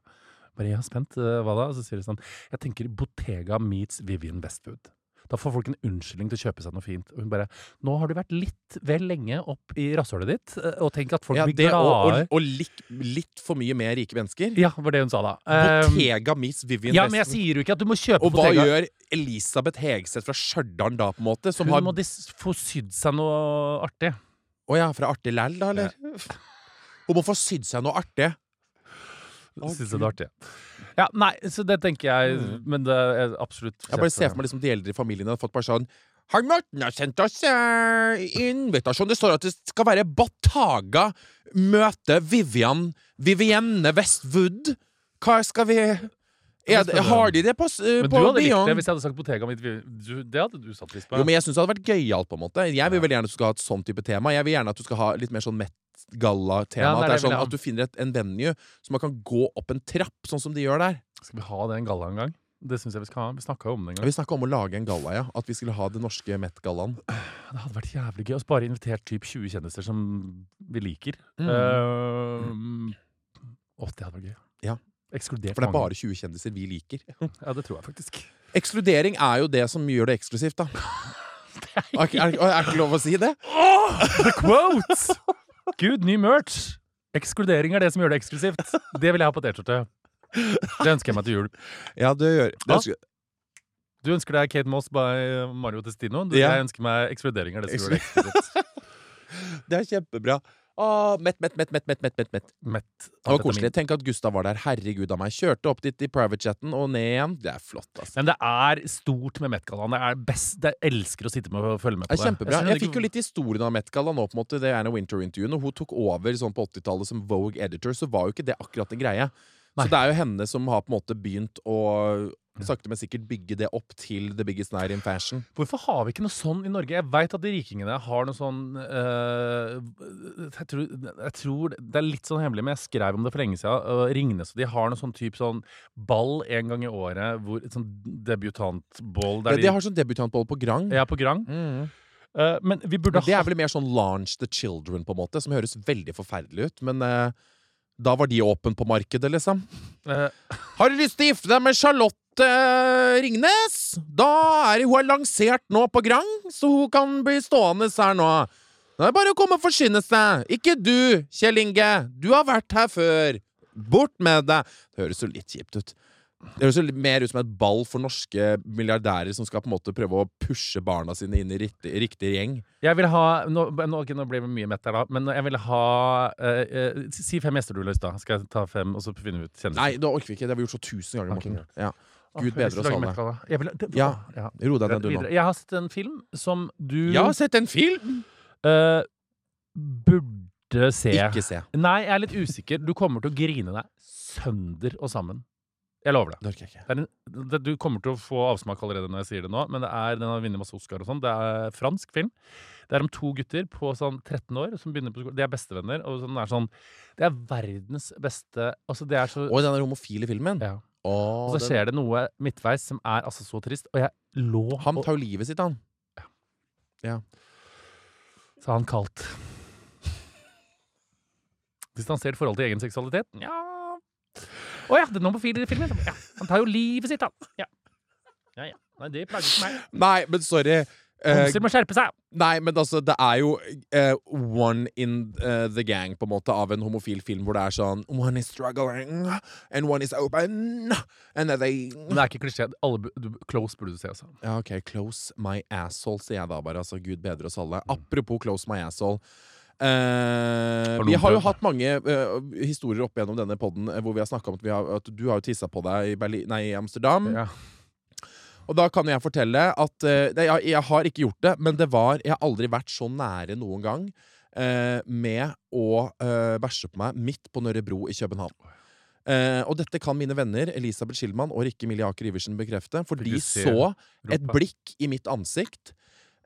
Speaker 2: Bare jeg er spent. eh, Hva da? Og så sier hun sånn Jeg tenker Bottega meets Vivian Westwood. Da får folk en unnskyldning til å kjøpe seg noe fint. Og hun bare Nå har du vært litt vel lenge opp i rasshølet ditt, eh, og tenk at folk
Speaker 3: Ja,
Speaker 2: blir
Speaker 3: det, og og,
Speaker 2: glade.
Speaker 3: og litt, litt for mye mer rike mennesker.
Speaker 2: Ja, var det hun sa da. Eh,
Speaker 3: Bottega Miss Vivian
Speaker 2: Ja, men jeg
Speaker 3: Westwood.
Speaker 2: sier jo ikke at du må kjøpe
Speaker 3: Og hva
Speaker 2: Bottega.
Speaker 3: gjør Elisabeth Hegseth fra Stjørdal da, på en måte? Som
Speaker 2: Hun
Speaker 3: har
Speaker 2: må dis få sydd seg noe artig.
Speaker 3: Å ja, fra artig læll, da, eller? Hun må få sydd seg noe artig. Å, Mm.
Speaker 2: Syns jeg det er artig. Ja, nei, så det tenker jeg, men det er absolutt
Speaker 3: Jeg bare ser for meg liksom, de eldre i familien hadde fått bare sånn Har Morten har sendt oss eh, invitasjon? Det står at det skal være Bataga møte Vivian Vivienne Westwood. Hva skal vi er det, Har de det på, s-
Speaker 2: Men du
Speaker 3: på
Speaker 2: hadde likt det
Speaker 3: Beyond?
Speaker 2: hvis jeg hadde sagt Bottega mitt. Du, det hadde du satt pris på.
Speaker 3: Jo, men jeg syns det hadde vært gøyalt, på en måte. Jeg vil veldig gjerne at du skal ha et sånn type tema. Jeg vil gjerne at du skal ha litt mer sånn Met-galla-tema.
Speaker 2: Ja, det er det
Speaker 3: at, det er
Speaker 2: jeg vil
Speaker 3: sånn
Speaker 2: ha.
Speaker 3: at du finner et, en venue så man kan gå opp en trapp, sånn som de gjør der.
Speaker 2: Skal vi ha det en galla en gang? Det syns jeg vi skal ha. Vi snakka jo om det en
Speaker 3: Ja,
Speaker 2: gang.
Speaker 3: Vi snakka om å lage en galla, ja. At vi skulle ha det norske Met-gallaen.
Speaker 2: Det hadde vært jævlig gøy. Og så bare invitert typ 20 kjendiser som vi liker.
Speaker 3: Mm.
Speaker 2: Eh, Å, det hadde vært gøy.
Speaker 3: Ja.
Speaker 2: Ekskludert
Speaker 3: For det er
Speaker 2: mange.
Speaker 3: bare 20 kjendiser vi liker.
Speaker 2: Ja, det tror jeg faktisk.
Speaker 3: Ekskludering er jo det som gjør det *laughs* eksklusivt, da. Er ikke- er, er ikke lov å si det?
Speaker 2: The quotes! Gud, ny merch! Ekskludering er det som gjør det eksklusivt. Det vil jeg ha på T-skjorte. Det ønsker jeg meg til jul.
Speaker 3: Ja, det gjør det.
Speaker 2: Hva?
Speaker 3: ønsker-
Speaker 2: Du ønsker deg Kate Moss by Mario Testino. Du,
Speaker 3: Ja.
Speaker 2: Jeg ønsker meg ekskludering er det som gjør det
Speaker 3: *laughs*
Speaker 2: eksklusivt.
Speaker 3: Det er kjempebra. Åh, mett, mett, mett, mett, mett, mett, mett, mett.
Speaker 2: Mett.
Speaker 3: Det var koselig. Tenk at Gustav var der. Herregud av meg. Kjørte opp dit i privatechatten og ned igjen. Det er flott, altså.
Speaker 2: Men det er stort med Met-gallaen. Det er best. Jeg elsker å sitte med og følge med på det.
Speaker 3: Det er kjempebra.
Speaker 2: skjønner
Speaker 3: Jeg
Speaker 2: ikke-
Speaker 3: fikk jo litt historien av Met-galla nå, på en måte. Det er en Winter-intervjuet. Når hun tok over sånn på 80-tallet som Vogue editor, så var jo ikke det akkurat en greie.
Speaker 2: Nei.
Speaker 3: Så det er jo henne som har på en måte begynt å sakte, men sikkert bygge det opp til The Biggest Night in Fashion.
Speaker 2: Hvorfor har vi ikke noe sånn i Norge? Jeg veit at de rikingene har noe sånn eh, jeg, tror, jeg tror Det er litt sånn hemmelig, men jeg skrev om det for lenge siden. eh, Ringnes og de har noe sånn type sånn ball en gang i året. Hvor, et sånn debutantball
Speaker 3: Ja,
Speaker 2: der
Speaker 3: de har sånn debutantball på Grang.
Speaker 2: de er på Grang.
Speaker 3: Mm.
Speaker 2: Eh, men vi burde
Speaker 3: Men det
Speaker 2: ha
Speaker 3: er vel mer sånn Launch the Children, på en måte, som høres veldig forferdelig ut. Men eh, Da var de åpen på markedet, liksom.
Speaker 2: Eh,
Speaker 3: Har du lyst til å gifte deg med Charlotte eh, Ringnes? Da er hun er lansert nå på Grang, så hun kan bli stående her nå. Det er bare å komme og forsyne seg. Ikke du, Kjell Inge. Du har vært her før. Bort med deg. Det høres jo litt kjipt ut. Det høres jo litt mer ut som et ball for norske milliardærer som skal på en måte prøve å pushe barna sine inn i riktig, riktig gjeng.
Speaker 2: Jeg vil ha Nå, nå, ok, nå blir det mye mett her, da. Men jeg vil ha eh, eh, Si fem gjester du har lyst til. da. Skal jeg ta fem, og så finner vi ut kjendiser?
Speaker 3: Nei, det orker vi ikke. Det har vi gjort så tusen ganger, Morten.
Speaker 2: Ok,
Speaker 3: Ja.
Speaker 2: Åh, jeg har lyst
Speaker 3: Gud bedre
Speaker 2: til å
Speaker 3: oss
Speaker 2: lage
Speaker 3: alle.
Speaker 2: mettklare. Jeg vil, det,
Speaker 3: Ja.
Speaker 2: ja.
Speaker 3: Ro deg ned, du nå.
Speaker 2: Videre. Jeg har sett en film som du
Speaker 3: Jeg har sett en film!
Speaker 2: eh, burde se.
Speaker 3: Ikke se.
Speaker 2: Nei, jeg er litt usikker. Du kommer til å grine deg sønder og sammen. Jeg lover deg.
Speaker 3: Det orker jeg ikke.
Speaker 2: Det er en, det, du kommer til å få avsmak allerede når jeg sier det nå, men det er, den har vunnet masse Oscar og sånn. Det er fransk film. Det er om to gutter på sånn 13 år som begynner på skolen. De er bestevenner. og sånn er sånn, Det er verdens beste Altså, det er så
Speaker 3: Og den homofile filmen.
Speaker 2: ja.
Speaker 3: Åh,
Speaker 2: Og så
Speaker 3: den-
Speaker 2: skjer det noe midtveis som er altså så trist, og jeg lå
Speaker 3: Han
Speaker 2: og-
Speaker 3: tar jo livet sitt, han.
Speaker 2: sa han kaldt. Distansert forhold til egen seksualitet? Nja Å ja, den homofile i filmen. Ja, han tar jo livet sitt, han. Ja. ja, ja. Nei, det plager ikke meg.
Speaker 3: Nei, men sorry. Eh,
Speaker 2: Homser må skjerpe seg.
Speaker 3: nei, men altså, det er jo eh, one in eh, the gang, på en måte, av en homofil film hvor det er sånn One is struggling, and one is open, and then they
Speaker 2: Men det er ikke klisjé. Alle bu- du- Close burde du se, altså.
Speaker 3: Ja, OK. Close my asshole, sier jeg da bare. Altså, Gud bedre oss
Speaker 2: Mm.
Speaker 3: alle. Apropos close my asshole. Eh, vi har jo hatt mange eh, historier opp gjennom denne podden eh, hvor vi har snakka om at, vi har, at du har jo tissa på deg i, Berlin, nei, i Amsterdam.
Speaker 2: Ja.
Speaker 3: Og da kan jeg fortelle at eh, nei, jeg, jeg har ikke gjort det, men det var Jeg har aldri vært så nære noen gang eh, med å eh, bæsje på meg midt på Nørre Bro i København. Eh, og dette kan mine venner Elisabeth Schildmann og Rikke Millie Aker Iversen bekrefte, for
Speaker 2: Fikk
Speaker 3: de
Speaker 2: du se
Speaker 3: så et
Speaker 2: Ropa.
Speaker 3: blikk i mitt ansikt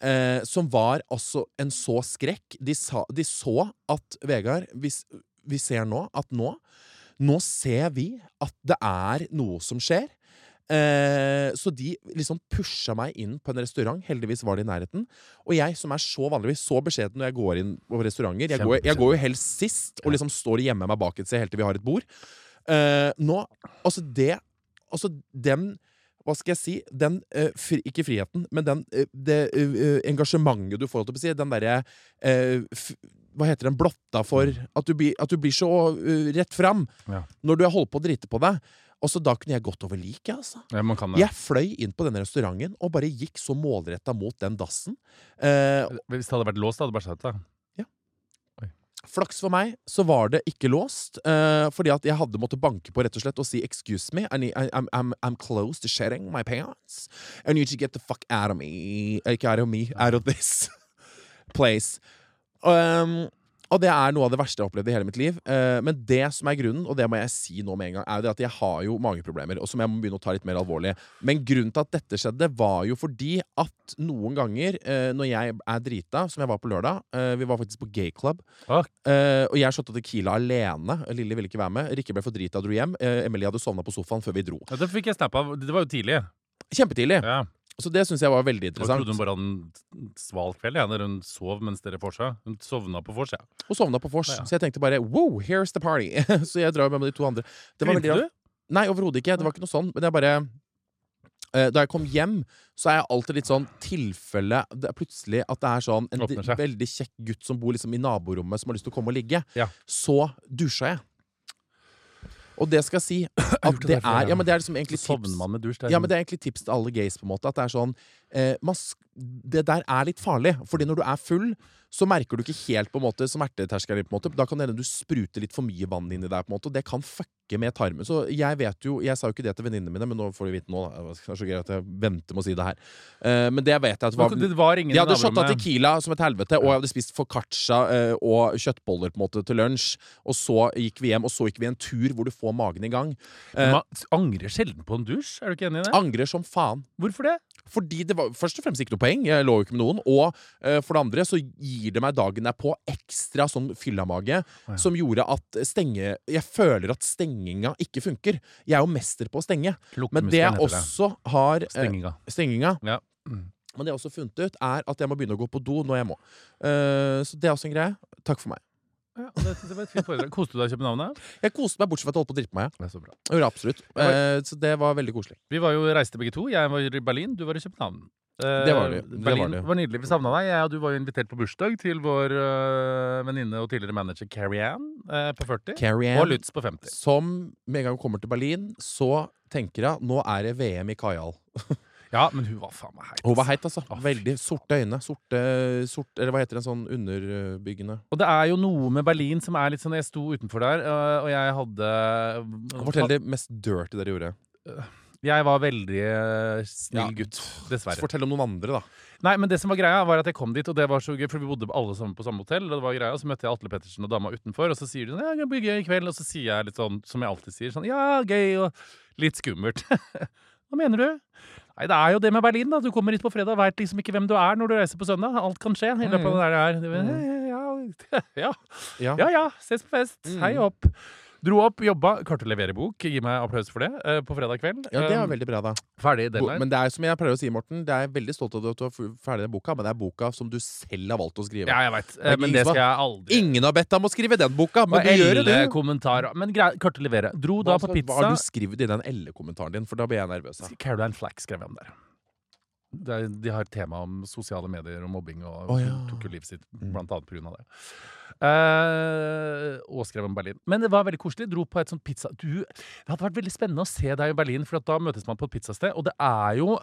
Speaker 3: eh, som var altså en så skrekk. De, sa, de så at Vegard vi, s- vi ser nå at nå Nå ser vi at det er noe som skjer. Eh, så de liksom pusha meg inn på en restaurant. Heldigvis var det i nærheten. Og jeg som er så vanligvis så beskjeden når jeg går inn på restauranter Jeg, går, jeg går jo helst sist og liksom står hjemme meg bak et sted helt til vi har et bord. Eh, nå Altså, det Altså, den hva skal jeg si? Den, eh, fri, ikke friheten, men den, eh, det eh, eh, engasjementet du får, holdt jeg på å si, den derre eh, f- Hva heter den blotta for? At du, blir- at du blir så eh, rett fram
Speaker 2: Ja.
Speaker 3: når du har holdt på å drite på deg. Og så da kunne jeg gått over liket, altså.
Speaker 2: Ja, man kan
Speaker 3: Jeg fløy inn på denne restauranten og bare gikk så målretta mot den dassen. Eh,
Speaker 2: Hvis det hadde vært låst, hadde det bare sagt det.
Speaker 3: flaks for meg så var det ikke låst, eh, fordi at jeg hadde måttet banke på rett og slett og si 'excuse me, I need, I, I'm, I'm, I'm close to shedding my pants. I need you to get the fuck out of me. eh, Ikke out of me, out of this *laughs* place'. Um, og det er noe av det verste jeg har opplevd i hele mitt liv. Eh, men det som er grunnen, og det må jeg si nå med en gang, er jo det at jeg har jo mageproblemer, og som jeg må begynne å ta litt mer alvorlig. Men grunnen til at dette skjedde, var jo fordi at noen ganger eh, når jeg er drita, som jeg var på lørdag eh, Vi var faktisk på gay club.
Speaker 2: Ah.
Speaker 3: Eh, og jeg shotta Tequila alene. Lille ville ikke være med. Rikke ble for drita og dro hjem. Eh, Emilie hadde sovna på sofaen før vi dro.
Speaker 2: Ja, det fikk jeg snap av. Det var jo tidlig.
Speaker 3: Kjempetidlig.
Speaker 2: Ja.
Speaker 3: Så det syns jeg var veldig
Speaker 2: Jeg trodde hun
Speaker 3: interessant.
Speaker 2: bare hadde en sval kveld, jeg, der hun sov mens dere vorsa. Hun sovna på vors, ja.
Speaker 3: Og sovna på vors.
Speaker 2: Ja, ja.
Speaker 3: Så jeg tenkte bare wow, here's the party. *laughs* så jeg drar jo med de to andre. Det var
Speaker 2: Grinte
Speaker 3: veldig rart. Nei, overhodet ikke. Det var ikke noe sånn. Men jeg bare eh, Da jeg kom hjem, så er jeg alltid litt sånn tilfelle det er Plutselig at det er sånn en
Speaker 2: Åpner seg.
Speaker 3: veldig kjekk gutt som bor liksom i naborommet, som har lyst til å komme og ligge.
Speaker 2: Ja.
Speaker 3: Så dusja jeg. Og det skal jeg
Speaker 2: *clears throat*
Speaker 3: si at
Speaker 2: gjort det
Speaker 3: det
Speaker 2: der før,
Speaker 3: er Ja, men det er liksom
Speaker 2: Så
Speaker 3: egentlig
Speaker 2: sovner
Speaker 3: tips.
Speaker 2: man med dusj. det er
Speaker 3: Ja,
Speaker 2: en-
Speaker 3: men det er egentlig tips til alle gays, på en måte. At det er sånn eh, man sk- Det der er litt farlig. Fordi når du er full, så merker du ikke helt på en måte smerteterskelen. på en måte Da kan det hende du spruter litt for mye vann inni deg, på en måte og det kan fucke med tarmen. Så jeg vet jo Jeg sa jo ikke det til venninnene mine, men nå får de vite nå. Da. Det er så gøy at jeg venter med å si det her. Eh, men det vet jeg at var
Speaker 2: Men Det var ingen
Speaker 3: jeg
Speaker 2: i
Speaker 3: hadde shotta
Speaker 2: naborommet.
Speaker 3: tequila som et helvete, og jeg hadde spist foccaccia eh, og kjøttboller på en måte til lunsj. Og så gikk vi hjem, og så gikk vi en tur hvor du får magen i gang. Eh, Ah,
Speaker 2: Man angrer sjelden på en dusj. Er du ikke enig i det?
Speaker 3: Angrer som faen.
Speaker 2: Hvorfor det?
Speaker 3: Fordi det var først og fremst ikke noe poeng. Jeg lå jo ikke med noen. Og eh, for det andre så gir det meg dagen derpå ekstra sånn fyllamage
Speaker 2: ja.
Speaker 3: som gjorde at stenge Jeg føler at stenginga ikke funker. Jeg er jo mester på å stenge. Men det jeg også har eh,
Speaker 2: Stenginga.
Speaker 3: Stenginga.
Speaker 2: Ja.
Speaker 3: Men det jeg også har funnet ut, er at jeg må begynne å gå på do når jeg må. Eh, så det er også en greie. Takk for meg.
Speaker 2: Ja, og det synes jeg var et fint foredrag. *laughs* Koste du deg å kjøpe navnet?
Speaker 3: Jeg koste meg bortsett fra at jeg holdt på å drite på meg.
Speaker 2: Det er så bra.
Speaker 3: Jeg gjorde absolutt. Eh, så det var veldig koselig.
Speaker 2: Vi var jo reiste begge to. Jeg var i Berlin, du var i København. Eh,
Speaker 3: Det var det, det
Speaker 2: Berlin
Speaker 3: var det.
Speaker 2: nydelig. Vi savna deg. Jeg og du var jo invitert på bursdag til vår eh, venninne og tidligere manager Carrie Ann eh, på 40.
Speaker 3: Carrie
Speaker 2: Og
Speaker 3: Ann,
Speaker 2: Lutz på 50.
Speaker 3: som med en gang hun kommer til Berlin, så tenker hun nå er det VM i Kajal.
Speaker 2: Ja, men hun var faen meg heit.
Speaker 3: Hun var
Speaker 2: altså.
Speaker 3: heit, altså.
Speaker 2: Å, fy
Speaker 3: Veldig sorte øyne. Sorte, sort, eller hva heter det, en sånn underbyggende
Speaker 2: Og det er jo noe med Berlin som er litt sånn Jeg sto utenfor der, øh, og jeg hadde Mm.
Speaker 3: Fortell det mest dirty dere gjorde.
Speaker 2: Jeg var veldig øh, snill
Speaker 3: Ja.
Speaker 2: gutt, dessverre.
Speaker 3: Fortell om noen andre, da.
Speaker 2: Nei, men det som var greia, var at jeg kom dit, og det var så gøy, for vi bodde alle sammen på samme hotell, og det var greia, og så møtte jeg Atle Pettersen og dama utenfor, og så sier de sånn, ja, det blir gøy i kveld, og så sier jeg litt sånn, som jeg alltid sier, sånn, ja, gøy, og litt skummelt. *laughs* Hva mener du? Nei, det er jo det med Berlin, da. Du kommer hit på fredag, veit liksom ikke hvem du er når du reiser på søndag. Alt kan skje i løpet
Speaker 3: Mm.
Speaker 2: av det der det er. Ja, ja, *laughs*
Speaker 3: Ja.
Speaker 2: ja, ja, ses på fest.
Speaker 3: Mm.
Speaker 2: Hei opp. Dro opp, jobba, klarte å levere bok. Gi meg applaus for det eh, på fredag kveld.
Speaker 3: Ja, det
Speaker 2: Eh,
Speaker 3: er veldig bra, da.
Speaker 2: Ferdig deadline.
Speaker 3: Men det er som jeg pleier å si, Morten, det er jeg veldig stolt av at du har f- ferdig den boka, men det er boka som du selv har valgt å skrive.
Speaker 2: Ja, jeg veit.
Speaker 3: er ikke
Speaker 2: Men
Speaker 3: ingen
Speaker 2: det
Speaker 3: som
Speaker 2: skal jeg aldri
Speaker 3: Ingen har bedt deg om å skrive den boka,
Speaker 2: Og
Speaker 3: men du gjør det! du.
Speaker 2: elle-kommentarer. Men greit, klarte å levere. Dro da på
Speaker 3: Hva skal-
Speaker 2: pizza.
Speaker 3: Hva har du skrevet i den L-kommentaren din? For da blir jeg nervøs. da.
Speaker 2: Caroline Flack skrev jeg om der. Det er, de har et tema om sosiale medier og mobbing, og hun
Speaker 3: Å, ja.
Speaker 2: tok jo livet sitt
Speaker 3: Mm.
Speaker 2: blant annet pga. det. Eh, og skrev om Berlin. Men det var veldig koselig. Dro på et sånt pizza... Du, det hadde vært veldig spennende å se deg i Berlin, for at da møtes man på et pizzasted, og det er jo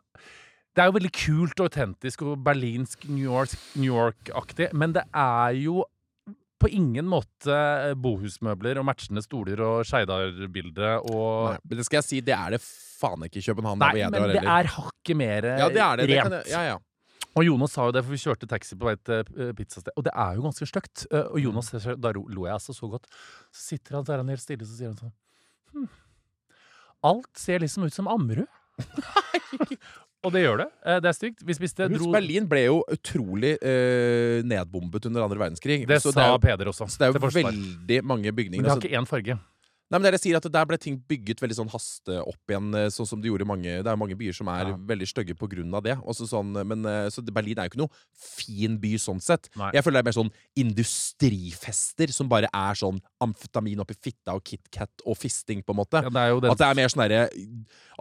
Speaker 2: det er jo veldig kult og autentisk og berlinsk, New York- New York-aktig, men det er jo på ingen måte bohusmøbler og matchende stoler og Skeidar-bilde og
Speaker 3: Nei, men det skal jeg si, det er det faen ikke i København. da
Speaker 2: Nei,
Speaker 3: vil jeg dra
Speaker 2: men det
Speaker 3: heller.
Speaker 2: er hakket mer eh,
Speaker 3: ja, det er det. det kan
Speaker 2: rent.
Speaker 3: jeg, ja, ja.
Speaker 2: Og Jonas sa jo det, for vi kjørte taxi på vei til eh, pizzasted. Og det er jo ganske stygt. Eh, Og Jonas, da ro- lo jeg altså så godt. Så sitter han der han er helt stille, så sier han sånn hm. Alt ser liksom ut som *laughs* Ammerud. og det gjør det. Eh, Det er stygt. Vi spiste
Speaker 3: Husk,
Speaker 2: dro,
Speaker 3: Berlin ble jo utrolig eh, nedbombet under andre verdenskrig.
Speaker 2: Det
Speaker 3: så det
Speaker 2: sa
Speaker 3: er, jo-
Speaker 2: Peder også.
Speaker 3: så det er
Speaker 2: til
Speaker 3: jo
Speaker 2: forsvar.
Speaker 3: veldig mange bygninger.
Speaker 2: Men det har
Speaker 3: altså-
Speaker 2: ikke én farge.
Speaker 3: Nei, men det er det jeg sier at Der ble ting bygget veldig sånn haste opp igjen, eh, sånn som de gjorde i mange Det er jo mange byer som er
Speaker 2: Ja.
Speaker 3: veldig stygge på grunn av det. Og så sånn, men, eh, så det- Berlin er jo ikke noe fin by sånn sett.
Speaker 2: Nei.
Speaker 3: Jeg føler det er mer sånn industrifester som bare er sånn amfetamin oppi fitta og KitKat og fisting, på en måte.
Speaker 2: Ja, det er jo den
Speaker 3: At det er mer sånn derre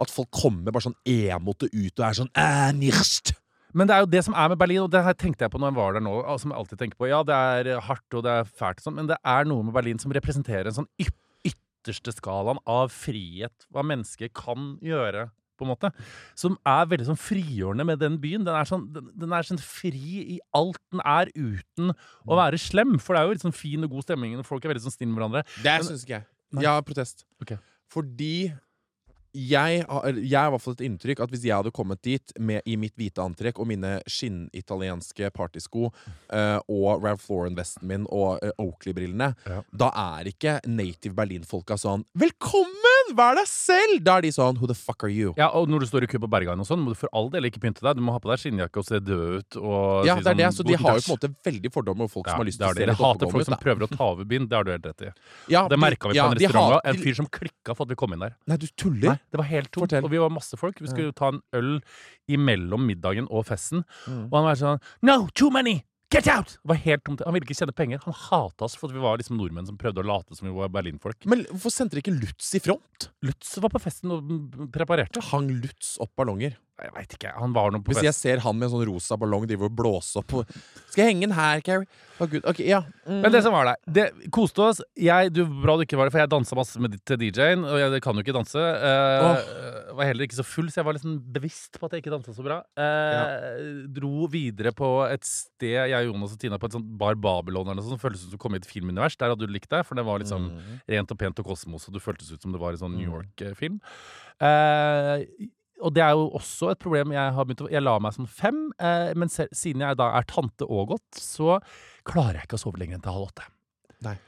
Speaker 3: At folk kommer bare sånn emote ut og er sånn «Æ, nirst.
Speaker 2: Men det er jo det som er med Berlin, og det her tenkte jeg på når jeg var der nå. og Som jeg alltid tenker på. Ja, det er eh, hardt og det er fælt, og sånn, men det er noe med Berlin som representerer en sånn yp- ytterste skalaen av frihet. Hva mennesket kan gjøre, på en måte. Som er veldig sånn frigjørende med den byen. Den er sånn, den, den er sånn fri i alt den er, uten å være slem. For det er jo litt sånn fin og god stemning, og folk er veldig sånn snille med hverandre.
Speaker 3: Det syns ikke jeg.
Speaker 2: Nei.
Speaker 3: Jeg har protest.
Speaker 2: Ok.
Speaker 3: Fordi jeg har eller jeg har i hvert fall et inntrykk at hvis jeg hadde kommet dit med, i mitt hvite antrekk og mine skinnitalienske partysko eh, og Ralph Lauren-vesten min og eh, Oakley-brillene,
Speaker 2: Ja.
Speaker 3: da er ikke native Berlin-folka sånn 'Velkommen! Vær deg selv!' Da er de sånn 'Who the fuck are you?'
Speaker 2: Ja, Og når du står i kø på Berghagen, og sånn, må du for all del ikke pynte deg. Du må ha på deg skinnjakke og se død ut. Og
Speaker 3: Ja,
Speaker 2: si
Speaker 3: det er det.
Speaker 2: sånn,
Speaker 3: Så de
Speaker 2: «Guten
Speaker 3: har
Speaker 2: Tag».
Speaker 3: jo på en måte veldig fordommer over folk som har lyst til
Speaker 2: det
Speaker 3: å
Speaker 2: er
Speaker 3: se
Speaker 2: det.
Speaker 3: litt
Speaker 2: Jeg hater
Speaker 3: oppegående
Speaker 2: folk
Speaker 3: ut.
Speaker 2: som
Speaker 3: da.
Speaker 2: prøver å ta over byen. Det har du helt rett i.
Speaker 3: Ja,
Speaker 2: Det
Speaker 3: de-
Speaker 2: merka vi på
Speaker 3: ja,
Speaker 2: en
Speaker 3: de
Speaker 2: restaurant.
Speaker 3: har-
Speaker 2: også. En fyr som klikka for at vi kom inn der.
Speaker 3: Nei, du tuller?
Speaker 2: Nei, det var helt tomt.
Speaker 3: Fortell.
Speaker 2: Og vi var masse folk. Vi skulle ta en øl imellom middagen og festen.
Speaker 3: Mm.
Speaker 2: Og han var sånn No, too many! Get out! Det var helt tomt. Han ville ikke tjene penger. Han hata oss for at vi var liksom nordmenn som prøvde å late som vi var berlinfolk.
Speaker 3: Men hvorfor sendte de ikke Lutz i front?
Speaker 2: Lutz var på festen og mm, preparerte.
Speaker 3: Hang Lutz opp ballonger?
Speaker 2: Jeg veit ikke. Han var nå på
Speaker 3: Hvis
Speaker 2: fest.
Speaker 3: jeg ser han med en sånn rosa ballong driver og blåser opp og- Skal jeg henge den her, Carrie? Å, Gud. Ok, ja. Mm.
Speaker 2: Men det som var der, det koste oss. Jeg, du, bra du ikke var der, for jeg dansa masse med, til DJ-en, og jeg kan jo ikke danse. Eh, Var heller ikke så full, så jeg var liksom bevisst på at jeg ikke dansa så bra. Eh, Dro videre på et sted, jeg, Jonas og Tina, på et sånt Bar Babylon eller noe sånt, som føltes ut som å komme i et filmunivers. Der hadde du likt deg, for det var liksom
Speaker 3: Mm.
Speaker 2: rent og pent og kosmos, og du føltes ut som det var en sånn New
Speaker 3: Mm.
Speaker 2: York-film. Eh, og det er jo også et problem. Jeg, har begynt å, jeg la meg som fem, eh, men se, siden jeg da er tante og godt, så klarer jeg ikke å sove lenger enn til halv åtte.
Speaker 3: Nei.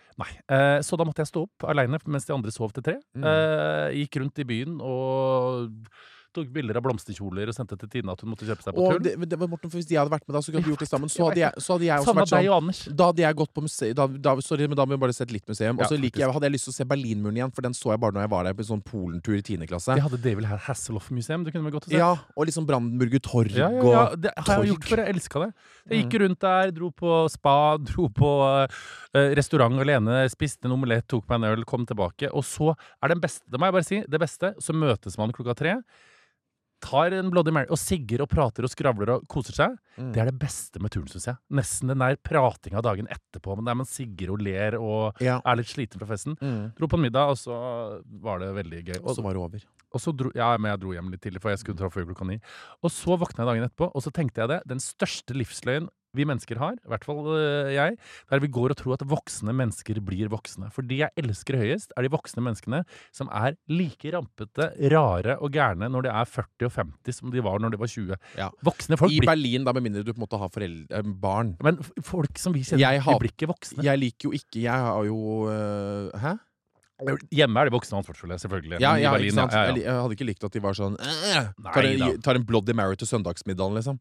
Speaker 2: Eh, så da måtte jeg stå opp aleine mens de andre sov til tre.
Speaker 3: Mm.
Speaker 2: Eh, gikk rundt i byen og tok bilder av blomsterkjoler og sendte til Tina at hun måtte kjøpe seg på
Speaker 3: Og
Speaker 2: tull.
Speaker 3: det, men det var Morten, for Hvis de hadde vært med da, så kunne vi gjort det sammen. Så
Speaker 2: jeg
Speaker 3: hadde
Speaker 2: vet
Speaker 3: jeg, så hadde jeg også
Speaker 2: Samme
Speaker 3: vært sånn
Speaker 2: deg og Anders.
Speaker 3: da hadde jeg gått på museet da, da, Sorry, men da må vi bare sett litt museum. Og
Speaker 2: Ja,
Speaker 3: så liker jeg,
Speaker 2: faktisk.
Speaker 3: hadde jeg lyst til å se Berlinmuren igjen, for den så jeg bare når jeg var der på en sånn Polentur i 10. klasse.
Speaker 2: Vi hadde David Hasselhoff-museum. Det kunne vi godt ha sett.
Speaker 3: Ja, Og liksom Brandenburger Torg
Speaker 2: Ja, ja, ja.
Speaker 3: og Mm.
Speaker 2: Det har jeg gjort
Speaker 3: torg.
Speaker 2: før. Jeg elska det. Jeg gikk rundt der, dro på spa, *laughs* dro på eh, restaurant alene, spiste en omelett, tok meg en øl, kom tilbake. Og så er den beste, det må jeg bare si, det beste, så møtes man klokka tre. Tar en Bloody Mary og sigger og prater og skravler og koser seg.
Speaker 3: Mm.
Speaker 2: Det er det beste med turen, syns jeg. Nesten den der pratinga dagen etterpå, men der man sigger og ler og
Speaker 3: Ja.
Speaker 2: er litt sliten fra festen.
Speaker 3: Mm.
Speaker 2: Dro på en middag, og så var det veldig gøy.
Speaker 3: Og så var det over.
Speaker 2: Og så dro, ja, men jeg dro hjem litt tidlig, for jeg skulle dra før klokka ni. Og så våkna jeg dagen etterpå, og så tenkte jeg det. Den største livsløgnen vi mennesker har, i hvert fall øh, jeg, der vi går og tror at voksne mennesker blir voksne. For de jeg elsker høyest, er de voksne menneskene som er like rampete, rare og gærne når de er 40 og 50 som de var når de var 20.
Speaker 3: Ja.
Speaker 2: Voksne folk
Speaker 3: I
Speaker 2: blir
Speaker 3: Berlin, da med mindre du på en måte har foreldre, eh, barn.
Speaker 2: Men f- folk som vi kjenner, de
Speaker 3: Jeg hat-
Speaker 2: blir ikke voksne.
Speaker 3: Jeg liker jo ikke Jeg har jo øh, Hæ?
Speaker 2: Hjemme er de voksne ansvarsfulle, selvfølgelig.
Speaker 3: Ja,
Speaker 2: men i
Speaker 3: ja,
Speaker 2: Berlin,
Speaker 3: ikke sant?
Speaker 2: ja, ja, ja.
Speaker 3: Jeg li- Jeg hadde ikke likt at de var sånn «Æ,
Speaker 2: Nei
Speaker 3: tar, en,
Speaker 2: da.
Speaker 3: tar en Bloody Mary til søndagsmiddagen, liksom.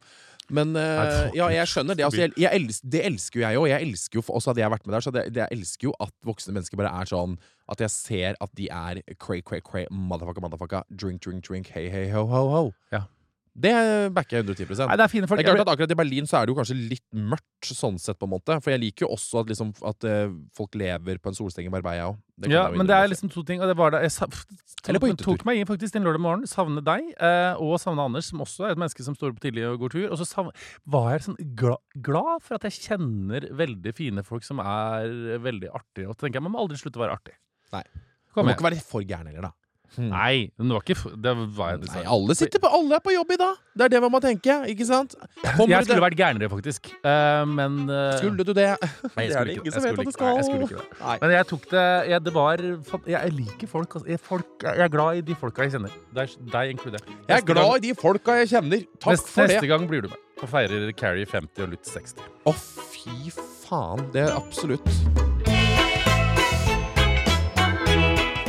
Speaker 3: Men øh,
Speaker 2: Nei, fuck
Speaker 3: ja,
Speaker 2: it.
Speaker 3: jeg skjønner det. Altså, jeg, jeg els- det elsker jo jeg òg. Jeg elsker jo, og så hadde jeg vært med der, så hadde jeg, jeg elsker jo at voksne mennesker bare er sånn At jeg ser at de er cray, cray, cray, motherfucka, motherfucka, drink, drink, drink, hey, hey, ho, ho, ho.
Speaker 2: Ja.
Speaker 3: Det backer jeg 110
Speaker 2: Nei, det er fine folk.
Speaker 3: det er klart at akkurat I Berlin så er det jo kanskje litt mørkt, sånn sett på en måte. For jeg liker jo også at, liksom, at eh, folk lever på en solsteng i Marbella òg.
Speaker 2: ja, men det er liksom to ting. Og det var da jeg sa-
Speaker 3: Eller på
Speaker 2: tok-
Speaker 3: hyttetur.
Speaker 2: tok meg inn faktisk den lørdag morgen, savne deg eh, og savne Anders, som også er et menneske som står opp tidlig og går tur. Og så savne, var jeg sånn gla, glad for at jeg kjenner veldig fine folk som er veldig artige. Og så tenker jeg, man må aldri slutte å være artig.
Speaker 3: Nei. Du
Speaker 2: Kom
Speaker 3: må ikke
Speaker 2: igjen.
Speaker 3: være for gæren heller, da.
Speaker 2: Nei, men det var ikke f- Det var jeg
Speaker 3: Nei, alle sitter på, alle er på jobb i dag! Det er det man må tenke, ikke sant?
Speaker 2: Jeg skulle
Speaker 3: du
Speaker 2: vært gærnere, faktisk. Eh, men eh,
Speaker 3: skulle du det?
Speaker 2: Nei, jeg
Speaker 3: Det er
Speaker 2: skulle
Speaker 3: det
Speaker 2: ikke
Speaker 3: ingen
Speaker 2: Jeg
Speaker 3: som
Speaker 2: skulle
Speaker 3: vet at du
Speaker 2: ikke- nei, jeg skulle
Speaker 3: skal.
Speaker 2: ikke det.
Speaker 3: Nei.
Speaker 2: Men jeg tok det Jeg, det var, fa- jeg, jeg liker folk, altså. Jeg, folk jeg er glad i de folka jeg kjenner. Deg, deg inkludert.
Speaker 3: Jeg er glad i de folka jeg kjenner. Takk
Speaker 2: neste,
Speaker 3: for
Speaker 2: Neste
Speaker 3: det.
Speaker 2: gang blir du med. Og feirer Carrie 50 og Lutz 60.
Speaker 3: Å, fy faen. Det er absolutt.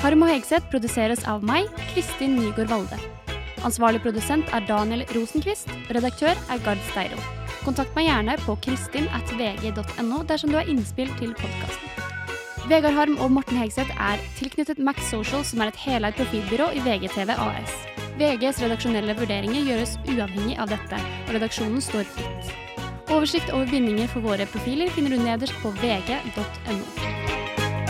Speaker 5: Harm og Hegseth produseres av meg, Kristin Nygaard Valde. Ansvarlig produsent er Daniel Rosenquist. Redaktør er Gard Steiro. Kontakt meg gjerne på kristin.vg.no dersom du har innspill til podkasten. Vegard Harm og Morten Hegseth er tilknyttet Max Social, som er et heleid profilbyrå i VGTV AS. VGs redaksjonelle vurderinger gjøres uavhengig av dette, og redaksjonen står fritt. Oversikt over bindinger for våre profiler finner du nederst på vg.no.